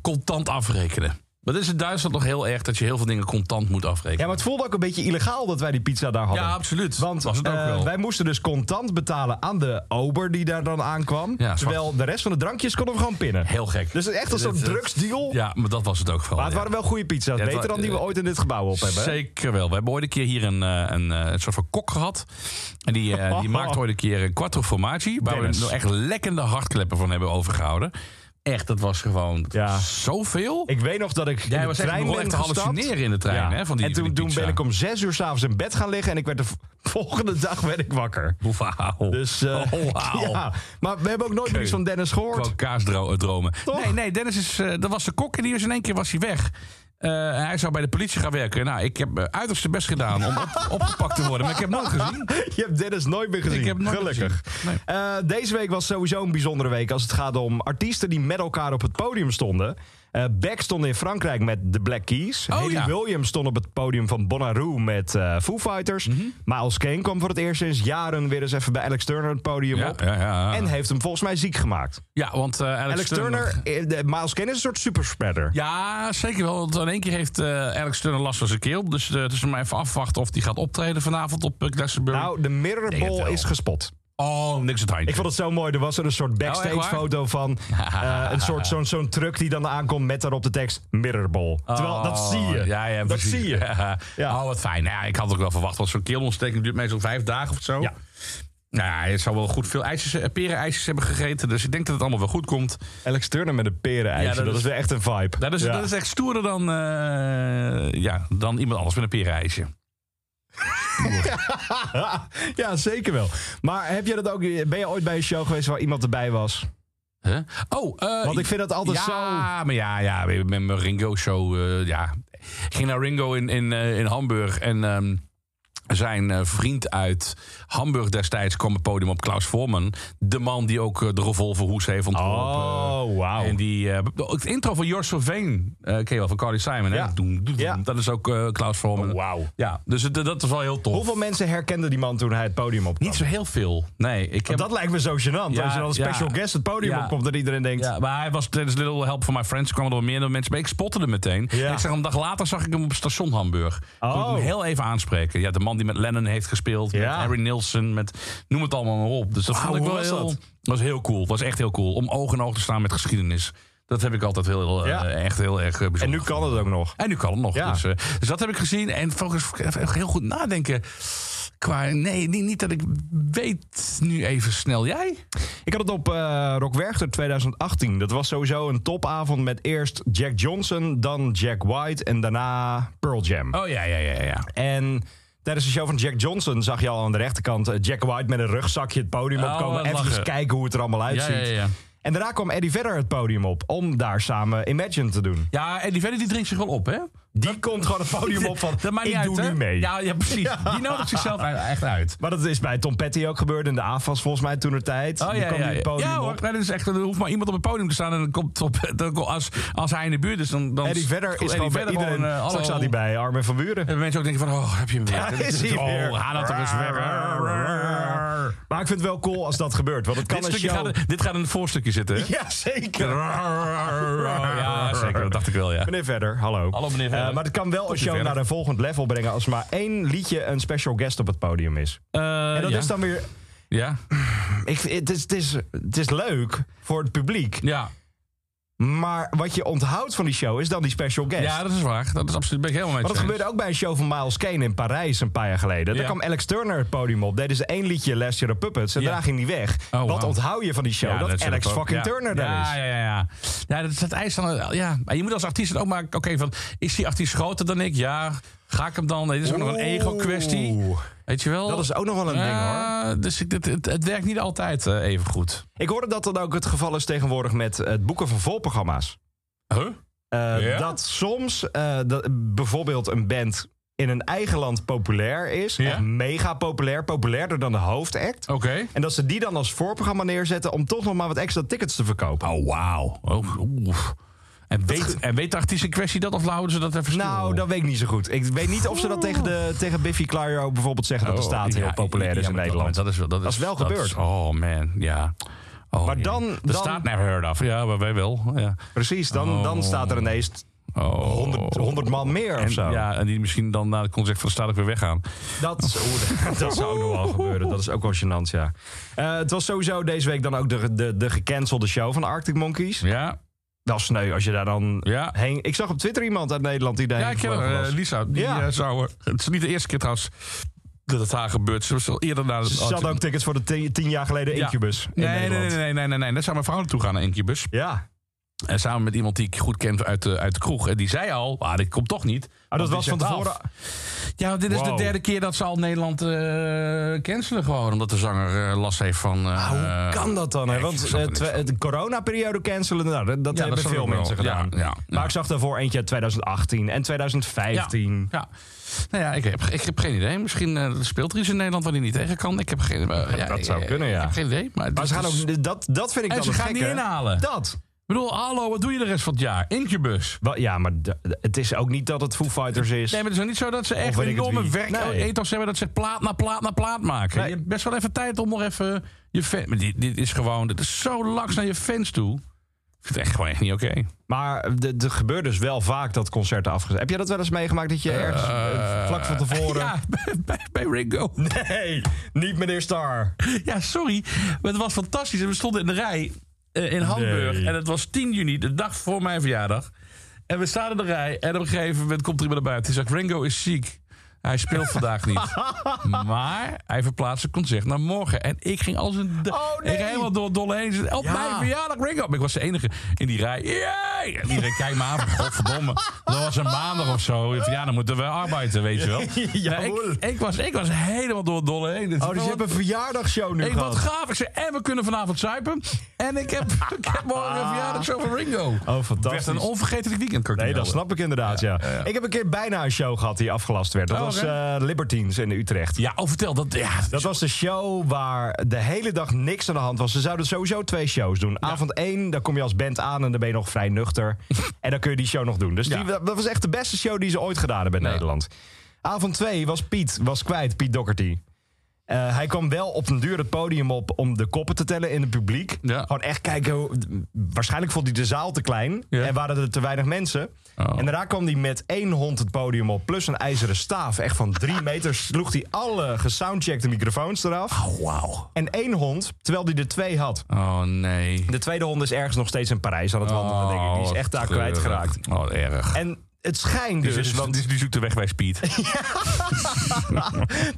[SPEAKER 2] contant afrekenen. Dat is in Duitsland nog heel erg dat je heel veel dingen contant moet
[SPEAKER 3] Ja,
[SPEAKER 2] afrekenen.
[SPEAKER 3] maar het voelde ook een beetje illegaal dat wij die pizza daar hadden.
[SPEAKER 2] Ja, absoluut.
[SPEAKER 3] Want
[SPEAKER 2] was het ook
[SPEAKER 3] eh,
[SPEAKER 2] wel.
[SPEAKER 3] wij moesten dus contant betalen aan de ober die daar dan aankwam.
[SPEAKER 2] Ja,
[SPEAKER 3] terwijl de rest van de drankjes konden we gewoon pinnen.
[SPEAKER 2] Heel gek.
[SPEAKER 3] Dus het is echt een
[SPEAKER 2] Dat-
[SPEAKER 3] soort
[SPEAKER 2] dat-
[SPEAKER 3] drugsdeal.
[SPEAKER 2] Ja, maar dat was het ook wel.
[SPEAKER 3] Maar het
[SPEAKER 2] ja.
[SPEAKER 3] waren wel goede pizza's.
[SPEAKER 2] Ja, het
[SPEAKER 3] Beter
[SPEAKER 2] wa-
[SPEAKER 3] dan die we
[SPEAKER 2] eh,
[SPEAKER 3] ooit in dit gebouw op hebben. hè?
[SPEAKER 2] Zeker wel. We hebben ooit een keer hier een, eh, een, eh, een soort van kok gehad. En die,
[SPEAKER 3] [LAUGHS]
[SPEAKER 2] eh, die maakt ooit een keer een quattro formaggi. Waar
[SPEAKER 3] Dennis.
[SPEAKER 2] we nog echt lekkende hartkleppen van hebben overgehouden. Echt, dat was gewoon
[SPEAKER 3] Ja.
[SPEAKER 2] zoveel.
[SPEAKER 3] Ik weet nog dat ik in
[SPEAKER 2] Jij
[SPEAKER 3] de
[SPEAKER 2] was echt,
[SPEAKER 3] trein
[SPEAKER 2] begon
[SPEAKER 3] ben
[SPEAKER 2] echt te
[SPEAKER 3] gestapt.
[SPEAKER 2] hallucineren in de trein.
[SPEAKER 3] Ja.
[SPEAKER 2] Hè, van die,
[SPEAKER 3] en toen,
[SPEAKER 2] van die
[SPEAKER 3] toen ben ik
[SPEAKER 2] pizza.
[SPEAKER 3] om zes uur s'avonds in bed gaan liggen. En ik werd de v- [LAUGHS] volgende dag werd ik wakker.
[SPEAKER 2] Wauw.
[SPEAKER 3] Dus, eh,
[SPEAKER 2] oh, wauw.
[SPEAKER 3] [LAUGHS] ja. Maar we hebben ook nooit meer iets van Dennis gehoord.
[SPEAKER 2] Gewoon kaasdromen.
[SPEAKER 3] Toch?
[SPEAKER 2] eh, Nee, nee, Dennis is, eh, dat was de kok en die is in één keer was hij weg. Eh, hij zou bij de politie gaan werken. Nou, ik heb eh, uiterste best gedaan om op- opgepakt te worden. Maar ik heb nooit gezien.
[SPEAKER 3] [LAUGHS] Je hebt Dennis nooit meer gezien.
[SPEAKER 2] Ik heb nooit
[SPEAKER 3] Gelukkig.
[SPEAKER 2] gezien.
[SPEAKER 3] Eh, deze week was sowieso een bijzondere week als het gaat om artiesten die met elkaar op het podium stonden. Eh, Beck stond in Frankrijk met The Black Keys.
[SPEAKER 2] Oh,
[SPEAKER 3] Haley
[SPEAKER 2] ja.
[SPEAKER 3] Williams stond op het podium van Bonnaroo met eh, Foo Fighters.
[SPEAKER 2] Mhm.
[SPEAKER 3] Miles Kane kwam voor het eerst sinds jaren weer eens even bij Alex Turner het podium
[SPEAKER 2] Ja,
[SPEAKER 3] op.
[SPEAKER 2] ja, ja.
[SPEAKER 3] En heeft hem volgens mij ziek gemaakt.
[SPEAKER 2] ja want eh, Alex,
[SPEAKER 3] Alex Turner, eh, de- Miles Kane is een soort superspreader.
[SPEAKER 2] Ja, zeker wel. Want in één keer heeft eh, Alex Turner last van zijn keel. Dus eh, het is maar even afwachten of hij gaat optreden vanavond op uh, Glastonbury.
[SPEAKER 3] Nou, de Mirror
[SPEAKER 2] het
[SPEAKER 3] Ball
[SPEAKER 2] wel.
[SPEAKER 3] is gespot.
[SPEAKER 2] oh, niks aan het handje.
[SPEAKER 3] Ik vond het zo mooi. Er was er een soort backstage
[SPEAKER 2] Oh, waar?
[SPEAKER 3] foto
[SPEAKER 2] [LAUGHS]
[SPEAKER 3] van. eh, een soort zo'n zo'n truck die dan aankomt met daarop de tekst Mirrorball. Terwijl dat zie je.
[SPEAKER 2] Oh, Ja, [LAUGHS] ja,
[SPEAKER 3] dat
[SPEAKER 2] precies.
[SPEAKER 3] zie je. Ja.
[SPEAKER 2] Oh, wat fijn. Nou Ja, ik had het ook wel verwacht. Want zo'n keelontsteking duurt meestal vijf dagen of zo.
[SPEAKER 3] Ja.
[SPEAKER 2] Nou, ja, het zou wel goed veel ijsjes, eh, perenijsjes hebben gegeten. Dus ik denk dat het allemaal wel goed komt.
[SPEAKER 3] Alex Turner met een perenijsje.
[SPEAKER 2] Ja,
[SPEAKER 3] dat,
[SPEAKER 2] dat
[SPEAKER 3] is
[SPEAKER 2] is-
[SPEAKER 3] weer echt een vibe.
[SPEAKER 2] Dat is,
[SPEAKER 3] Ja.
[SPEAKER 2] dat is echt stoerder dan, eh, ja, dan iemand anders met een perenijsje.
[SPEAKER 3] [LAUGHS] ja, zeker wel. Maar heb je dat ook, ben je ooit bij een show geweest waar iemand erbij was?
[SPEAKER 2] Huh? Oh, eh,
[SPEAKER 3] Want ik vind dat altijd
[SPEAKER 2] ja,
[SPEAKER 3] zo-
[SPEAKER 2] Maar ja, ja, met mijn Ringo-show. eh, ja. Ik ging naar Ringo in, in, eh, in Hamburg en ehm, zijn eh, vriend uit Hamburg destijds kwam het podium op Klaus Voorman. De man die ook eh, de revolverhoes heeft ontworpen.
[SPEAKER 3] Oh, wauw.
[SPEAKER 2] En die, eh, het intro van Jos Sylvain, eh ken je wel, van Carly Simon.
[SPEAKER 3] Ja.
[SPEAKER 2] Hè? Doen, doen,
[SPEAKER 3] Ja.
[SPEAKER 2] Dat is ook eh, Klaus Voorman.
[SPEAKER 3] Oh, wauw.
[SPEAKER 2] Ja, dus het- dat is wel heel tof.
[SPEAKER 3] Hoeveel mensen herkenden die man toen hij het podium opkwam?
[SPEAKER 2] Niet zo heel veel. Nee, ik heb...
[SPEAKER 3] Want dat lijkt me zo gênant.
[SPEAKER 2] Ja,
[SPEAKER 3] als je dan een special
[SPEAKER 2] ja.
[SPEAKER 3] guest het podium
[SPEAKER 2] Ja.
[SPEAKER 3] opkomt en iedereen denkt...
[SPEAKER 2] Ja, maar hij was tijdens Little Help for My Friends kwamen er wel meer mensen bij. Ik spotte hem meteen.
[SPEAKER 3] Ja.
[SPEAKER 2] En ik zag hem een dag later zag ik hem op het station Hamburg.
[SPEAKER 3] Oh.
[SPEAKER 2] Kon ik hem heel even aanspreken. Ja, de man die met Lennon heeft gespeeld, met
[SPEAKER 3] Ja.
[SPEAKER 2] Harry Nilsson, met noem het allemaal maar op. Dus dat
[SPEAKER 3] Wauw,
[SPEAKER 2] vond ik
[SPEAKER 3] hoe
[SPEAKER 2] wel
[SPEAKER 3] was
[SPEAKER 2] heel,
[SPEAKER 3] dat?
[SPEAKER 2] was heel cool. was echt heel cool om oog in oog te staan met geschiedenis. Dat heb ik altijd heel, eh,
[SPEAKER 3] Ja.
[SPEAKER 2] echt heel erg eh, bijzonder.
[SPEAKER 3] En nu kan het ook nog.
[SPEAKER 2] En nu kan het nog.
[SPEAKER 3] Ja.
[SPEAKER 2] Dus, eh, dus dat heb ik gezien. En volgens even heel goed nadenken. Qua, nee, niet, niet dat ik weet nu even snel. Jij?
[SPEAKER 3] Ik had het op eh Rock Werchter 2018. Dat was sowieso een topavond met eerst Jack Johnson, dan Jack White en daarna Pearl Jam.
[SPEAKER 2] Oh ja, ja, ja, ja.
[SPEAKER 3] En tijdens de show van Jack Johnson zag je al aan de rechterkant eh, Jack White met een rugzakje het podium
[SPEAKER 2] Oh,
[SPEAKER 3] opkomen.
[SPEAKER 2] wat
[SPEAKER 3] Even
[SPEAKER 2] lachen.
[SPEAKER 3] eens kijken hoe het er allemaal uitziet.
[SPEAKER 2] ja, ja.
[SPEAKER 3] En daarna kwam Eddie Vedder het podium op om daar samen Imagine te doen.
[SPEAKER 2] Ja, en die verder die drinkt zich wel op, hè?
[SPEAKER 3] Oh, Die komt gewoon het podium op van
[SPEAKER 2] [LAUGHS] Dat maakt
[SPEAKER 3] ik
[SPEAKER 2] niet uit,
[SPEAKER 3] doe
[SPEAKER 2] hè?
[SPEAKER 3] nu mee.
[SPEAKER 2] Ja, ja precies. Die nodigt zichzelf e- echt uit.
[SPEAKER 3] Maar dat is bij Tom Petty ook gebeurd in de AFAS volgens mij toen er tijd.
[SPEAKER 2] Oh ja,
[SPEAKER 3] kwam
[SPEAKER 2] ja,
[SPEAKER 3] die het
[SPEAKER 2] ja.
[SPEAKER 3] podium
[SPEAKER 2] ja hoor.
[SPEAKER 3] op.
[SPEAKER 2] Nee, dat is echt, er hoeft maar iemand op het podium te staan. En dan komt op, [LAUGHS] dan, komt- als, als hij in de buurt is, dan. dan
[SPEAKER 3] Eddie Vedder is
[SPEAKER 2] Eddie
[SPEAKER 3] gewoon bij
[SPEAKER 2] Vedder
[SPEAKER 3] iedereen.
[SPEAKER 2] eh, hallo.
[SPEAKER 3] Straks staat hij bij Armin van Buren.
[SPEAKER 2] En mensen ook denken: van, oh, heb je hem weer?
[SPEAKER 3] Daar is hij
[SPEAKER 2] oh,
[SPEAKER 3] weer.
[SPEAKER 2] haal dat toch eens weg.
[SPEAKER 3] Maar ik vind het wel cool als dat gebeurt. Want het kan
[SPEAKER 2] Dit,
[SPEAKER 3] een
[SPEAKER 2] stukje
[SPEAKER 3] show...
[SPEAKER 2] gaat, dit gaat in het voorstukje zitten,
[SPEAKER 3] [LAUGHS]
[SPEAKER 2] hè? Oh,
[SPEAKER 3] Ja, zeker.
[SPEAKER 2] Ja, zeker. Dat dacht ik wel, ja.
[SPEAKER 3] Meneer Verder, hallo.
[SPEAKER 2] Hallo, meneer Verder.
[SPEAKER 3] Eh, maar het kan wel een
[SPEAKER 2] Komt u
[SPEAKER 3] show
[SPEAKER 2] verder?
[SPEAKER 3] naar een volgend level brengen... als maar één liedje een special guest op het podium is. En dat
[SPEAKER 2] Eh, ja.
[SPEAKER 3] is dan weer...
[SPEAKER 2] Ja.
[SPEAKER 3] Ik, het, is, het, is, het is leuk voor het publiek.
[SPEAKER 2] Ja.
[SPEAKER 3] Maar wat je onthoudt van die show is dan die special guest.
[SPEAKER 2] ja, dat is waar. Dat is absoluut. Ben ik helemaal mee
[SPEAKER 3] Maar dat
[SPEAKER 2] eens.
[SPEAKER 3] gebeurde ook bij een show van Miles Kane in Parijs een paar jaar geleden. Daar
[SPEAKER 2] Ja.
[SPEAKER 3] kwam Alex Turner het podium op. Deden ze één liedje Last Year of Puppets. En
[SPEAKER 2] Ja. Oh,
[SPEAKER 3] daarna ging hij weg.
[SPEAKER 2] wauw.
[SPEAKER 3] Wat onthoud je van die show? dat,
[SPEAKER 2] is
[SPEAKER 3] Alex
[SPEAKER 2] ook-
[SPEAKER 3] fucking
[SPEAKER 2] ja.
[SPEAKER 3] Turner
[SPEAKER 2] ja,
[SPEAKER 3] daar is.
[SPEAKER 2] Ja, ja, ja. Ja, dat is het eis van... Ja, maar je moet als artiest ook maar... Oké, van, is die artiest groter dan ik? Ja, ga ik hem dan... Nee, dit is ook nog een ego-kwestie.
[SPEAKER 3] Oeh.
[SPEAKER 2] Weet je wel?
[SPEAKER 3] Dat is ook nog wel een ding hoor.
[SPEAKER 2] Ja, Dus ik, het, het, het werkt niet altijd eh, even goed.
[SPEAKER 3] Ah. Ik hoorde dat dat ook het geval is tegenwoordig met het boeken van volprogramma's.
[SPEAKER 2] Huh?
[SPEAKER 3] Eh,
[SPEAKER 2] Ja?
[SPEAKER 3] Dat soms eh, dat bijvoorbeeld een band in een eigen land populair is.
[SPEAKER 2] Ja?
[SPEAKER 3] Echt mega populair. Populairder dan de hoofdact.
[SPEAKER 2] Oké.
[SPEAKER 3] En dat ze die dan als voorprogramma neerzetten om toch nog maar wat extra tickets te verkopen.
[SPEAKER 2] Oh, wauw. Oh, oef. En weet, en weet de artiest in kwestie dat of houden ze dat even stil?
[SPEAKER 3] Nou, dat weet ik niet zo goed. Ik weet niet of ze dat tegen, de, tegen Biffy Clyro bijvoorbeeld zeggen dat de
[SPEAKER 2] Oh,
[SPEAKER 3] staat heel
[SPEAKER 2] ja,
[SPEAKER 3] populair
[SPEAKER 2] ja,
[SPEAKER 3] is in
[SPEAKER 2] maar dat-
[SPEAKER 3] Nederland.
[SPEAKER 2] Dat, is wel, dat,
[SPEAKER 3] Dat is wel gebeurd.
[SPEAKER 2] oh man, ja. Oh,
[SPEAKER 3] Maar
[SPEAKER 2] jee.
[SPEAKER 3] dan-
[SPEAKER 2] De
[SPEAKER 3] dan-
[SPEAKER 2] staat never heard of. Ja, maar wij wel. Ja.
[SPEAKER 3] Precies, dan, dan staat er ineens
[SPEAKER 2] Oh.
[SPEAKER 3] 100, 100 man meer of
[SPEAKER 2] En,
[SPEAKER 3] zo.
[SPEAKER 2] ja, en die misschien dan na de concert van de staat ook weer weggaan.
[SPEAKER 3] Dat,
[SPEAKER 2] [LAUGHS]
[SPEAKER 3] oeh, dat zou ook nog wel gebeuren. Dat is ook wel gênant, ja. Eh, het was sowieso deze week dan ook de, de, de gecancelde show van Arctic Monkeys.
[SPEAKER 2] Ja,
[SPEAKER 3] Wel sneu als je daar dan
[SPEAKER 2] Ja.
[SPEAKER 3] heen... Ik zag op Twitter iemand uit Nederland die daarheen
[SPEAKER 2] ja ik ken
[SPEAKER 3] gevlogen
[SPEAKER 2] haar,
[SPEAKER 3] was.
[SPEAKER 2] eh, Lisa. Die
[SPEAKER 3] Ja.
[SPEAKER 2] eh, zou, er- het is niet de eerste keer trouwens dat het haar gebeurt. Ze was al eerder naar de...
[SPEAKER 3] Ze hadden ook tickets voor de tien, tien jaar geleden
[SPEAKER 2] Ja.
[SPEAKER 3] Incubus in
[SPEAKER 2] nee, nee,
[SPEAKER 3] Nederland.
[SPEAKER 2] nee, nee, nee, nee, nee. Daar zou mijn vrouw naartoe gaan naar Incubus.
[SPEAKER 3] Ja, Ah,
[SPEAKER 2] En samen met iemand die ik goed ken uit de, uit de kroeg. En die zei al, ah, dit komt toch niet.
[SPEAKER 3] Ah, dat
[SPEAKER 2] Want
[SPEAKER 3] was
[SPEAKER 2] dit
[SPEAKER 3] van
[SPEAKER 2] zegt af.
[SPEAKER 3] tevoren.
[SPEAKER 2] Ja, want dit is
[SPEAKER 3] Wow.
[SPEAKER 2] de derde keer dat ze al Nederland eh cancelen gewoon. Omdat de zanger eh, last heeft van... eh,
[SPEAKER 3] Ah, Hoe kan dat dan? Hè?
[SPEAKER 2] ik
[SPEAKER 3] Want
[SPEAKER 2] snap er
[SPEAKER 3] eh,
[SPEAKER 2] niks
[SPEAKER 3] twe-
[SPEAKER 2] van.
[SPEAKER 3] de coronaperiode cancelen, nou, dat, dat
[SPEAKER 2] Ja,
[SPEAKER 3] hebben
[SPEAKER 2] dat snap
[SPEAKER 3] veel
[SPEAKER 2] ik wel.
[SPEAKER 3] mensen gedaan.
[SPEAKER 2] Ja, ja,
[SPEAKER 3] Maar
[SPEAKER 2] ja.
[SPEAKER 3] ik zag daarvoor eentje uit 2018 en 2015.
[SPEAKER 2] Ja, ja. Nou ja, ik heb, ik heb geen idee. Misschien eh, speelt er iets in Nederland waar hij niet tegen kan. Ik heb geen eh, ja,
[SPEAKER 3] Dat zou
[SPEAKER 2] eh,
[SPEAKER 3] kunnen, ja.
[SPEAKER 2] Ik heb geen idee. Maar,
[SPEAKER 3] Maar ze gaan
[SPEAKER 2] dit is-
[SPEAKER 3] ook, dat, dat vind ik
[SPEAKER 2] Dus- En
[SPEAKER 3] dan
[SPEAKER 2] ze
[SPEAKER 3] het
[SPEAKER 2] gaan
[SPEAKER 3] gekke.
[SPEAKER 2] niet inhalen.
[SPEAKER 3] Dat.
[SPEAKER 2] Ik bedoel, hallo, wat doe je de rest van het jaar? Incubus.
[SPEAKER 3] Wel, Ja, maar d- het is ook niet dat het Foo Fighters is.
[SPEAKER 2] Nee, maar het is nog niet zo dat ze echt
[SPEAKER 3] weet
[SPEAKER 2] een
[SPEAKER 3] ik het
[SPEAKER 2] enorme
[SPEAKER 3] wie. Nee.
[SPEAKER 2] werkethos hebben... dat ze plaat na plaat na plaat maken.
[SPEAKER 3] Nee.
[SPEAKER 2] Je hebt best wel even tijd om nog even je fan... Maar dit, dit is gewoon... Dit is zo laks naar je fans toe. Ik vind het echt gewoon echt niet oké.
[SPEAKER 3] Maar d- er gebeurt dus wel vaak dat concerten afgezet. Heb jij dat wel eens meegemaakt dat je ergens eh, vlak van tevoren... [LAUGHS]
[SPEAKER 2] [LAUGHS] Ja, bij, bij, bij Ringo.
[SPEAKER 3] Nee, niet meneer Star.
[SPEAKER 2] [LAUGHS] Ja, sorry. Maar het was fantastisch. En we stonden in de rij eh, in Hamburg.
[SPEAKER 3] Nee.
[SPEAKER 2] En het was 10 juni, de dag voor mijn verjaardag. En we staan in de rij. En op een gegeven moment komt er iemand naar buiten. Die zegt, Ringo is ziek. Hij speelt
[SPEAKER 3] [LAUGHS]
[SPEAKER 2] vandaag niet. maar hij verplaatst het concert naar morgen. En ik ging als een... de-
[SPEAKER 3] Oh, nee.
[SPEAKER 2] Ik ging helemaal door het dolle heen. Ik zei, Op
[SPEAKER 3] Ja.
[SPEAKER 2] mijn verjaardag, Ringo. Maar ik was de enige in die rij. Yay! En iedereen kijkt me aan van, godverdomme. Dat was een maandag of zo. Ik zei, Ja, dan moeten we arbeiden, weet je
[SPEAKER 3] [LAUGHS]
[SPEAKER 2] wel. Nou,
[SPEAKER 3] Jawohl.
[SPEAKER 2] ik, ik, was, ik was helemaal door het dolle heen.
[SPEAKER 3] Oh, dus je hebt een verjaardagshow nu
[SPEAKER 2] Ik
[SPEAKER 3] gehad.
[SPEAKER 2] wat gaaf. Ik zei, en we kunnen vanavond zuipen. En ik heb, [LAUGHS] ik heb morgen een verjaardagshow van Ringo.
[SPEAKER 3] Oh,
[SPEAKER 2] Het
[SPEAKER 3] fantastisch.
[SPEAKER 2] werd een onvergetelijk weekend. kan ik
[SPEAKER 3] Nee,
[SPEAKER 2] niet
[SPEAKER 3] dat
[SPEAKER 2] helpen.
[SPEAKER 3] snap ik inderdaad, ja. Ik heb een keer bijna een show gehad die afgelast werd. Dat
[SPEAKER 2] Oh,
[SPEAKER 3] was eh,
[SPEAKER 2] oké.
[SPEAKER 3] Libertines in Utrecht.
[SPEAKER 2] Ja, oh, vertel. Dat, ja,
[SPEAKER 3] Dat was de show waar de hele dag niks aan de hand was. Ze zouden sowieso twee shows doen. Avond één, dan kom je als band aan en dan ben je nog vrij
[SPEAKER 2] [LAUGHS]
[SPEAKER 3] nuchter. en dan kun je die show nog doen. Dus die,
[SPEAKER 2] Ja.
[SPEAKER 3] dat was echt de beste show die ze ooit gedaan hebben in
[SPEAKER 2] Ja.
[SPEAKER 3] Nederland. Avond twee was Piet, was kwijt, Piet Doherty. Eh, hij kwam wel op den duur het podium op om de koppen te tellen in het publiek.
[SPEAKER 2] Ja.
[SPEAKER 3] Gewoon echt kijken. hoe- Waarschijnlijk vond hij de zaal te klein
[SPEAKER 2] Ja.
[SPEAKER 3] en waren er te weinig mensen.
[SPEAKER 2] Oh.
[SPEAKER 3] En daarna kwam hij met één hond het podium op, plus een ijzeren staaf. Echt van
[SPEAKER 2] [LAUGHS]
[SPEAKER 3] drie meter sloeg hij alle gesoundcheckte microfoons eraf.
[SPEAKER 2] Oh, wauw.
[SPEAKER 3] En één hond, terwijl hij er twee had.
[SPEAKER 2] Oh, nee.
[SPEAKER 3] De tweede hond is ergens nog steeds in Parijs aan het wandelen, denk ik. Die is echt daar
[SPEAKER 2] wat Oh, treurig.
[SPEAKER 3] kwijtgeraakt.
[SPEAKER 2] Oh, wat erg.
[SPEAKER 3] En het schijnt
[SPEAKER 2] Die,
[SPEAKER 3] dus,
[SPEAKER 2] zoekt-
[SPEAKER 3] want
[SPEAKER 2] die, die zoekt de weg bij Speed.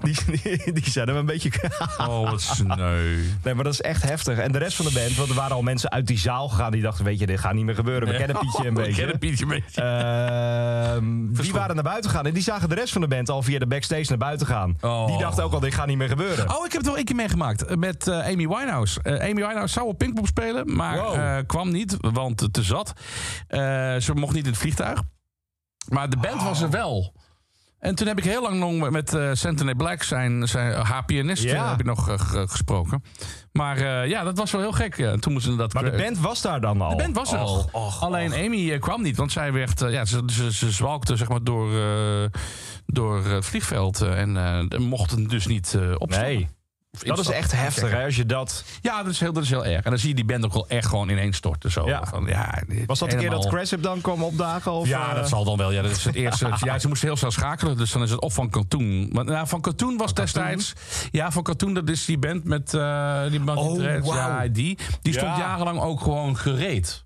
[SPEAKER 3] die, die, die zijn hem een beetje...
[SPEAKER 2] Oh, wat [LAUGHS] sneu.
[SPEAKER 3] Nee, maar dat is echt heftig. En de rest van de band, want er waren al mensen uit die zaal gegaan... die dachten, weet je, dit gaat niet meer gebeuren. We kennen Pietje een
[SPEAKER 2] [LAUGHS] Ik ken
[SPEAKER 3] beetje.
[SPEAKER 2] een Pietje een beetje.
[SPEAKER 3] Ehm, die
[SPEAKER 2] Verstond.
[SPEAKER 3] waren naar buiten gegaan. En die zagen de rest van de band al via de backstage naar buiten gaan.
[SPEAKER 2] Oh.
[SPEAKER 3] Die dachten ook al, dit gaat niet meer gebeuren.
[SPEAKER 2] Oh, ik heb het wel één keer meegemaakt eh, met eh, Amy Winehouse. Eh, Amy Winehouse zou op Pinkpop spelen, maar
[SPEAKER 3] Wow.
[SPEAKER 2] eh, kwam niet, want te zat. Eh, ze mocht niet in het vliegtuig. Maar de band was er
[SPEAKER 3] Oh.
[SPEAKER 2] wel. En toen heb ik heel lang nog met eh Santana Black, zijn, zijn, haar pianist,
[SPEAKER 3] Ja.
[SPEAKER 2] eh, heb ik nog eh, ge- gesproken. Maar eh, ja, dat was wel heel gek. Ja, toen moesten ze dat eh,
[SPEAKER 3] Maar de band was daar dan al.
[SPEAKER 2] de band was er
[SPEAKER 3] Och,
[SPEAKER 2] al.
[SPEAKER 3] och,
[SPEAKER 2] Alleen
[SPEAKER 3] och.
[SPEAKER 2] Amy eh, kwam niet, want zij werd, eh, ja, ze, ze, ze zwalkte zeg maar door, eh, door het vliegveld eh, en eh, mochten dus niet eh opstaan.
[SPEAKER 3] Nee,
[SPEAKER 2] Of
[SPEAKER 3] dat is
[SPEAKER 2] instappen.
[SPEAKER 3] echt heftig hè, als je dat...
[SPEAKER 2] Ja, dat is, heel, dat is heel erg. En dan zie je die band ook wel echt gewoon ineens storten. Zo.
[SPEAKER 3] Ja.
[SPEAKER 2] Van, ja, dit
[SPEAKER 3] Was dat de keer
[SPEAKER 2] helemaal-
[SPEAKER 3] dat Cressip dan kwam opdagen? Of,
[SPEAKER 2] Ja,
[SPEAKER 3] eh,
[SPEAKER 2] dat zal dan wel. Ja, dat is het
[SPEAKER 3] [LAUGHS]
[SPEAKER 2] eerste. ja, ze moesten heel snel schakelen, dus dan is het of van Katoen. Maar, nou, van Katoen was destijds... Ja, van Katoen, dat is die band met... eh, die band
[SPEAKER 3] Oh,
[SPEAKER 2] ja,
[SPEAKER 3] wauw.
[SPEAKER 2] die. Die stond
[SPEAKER 3] Ja.
[SPEAKER 2] jarenlang ook gewoon gereed.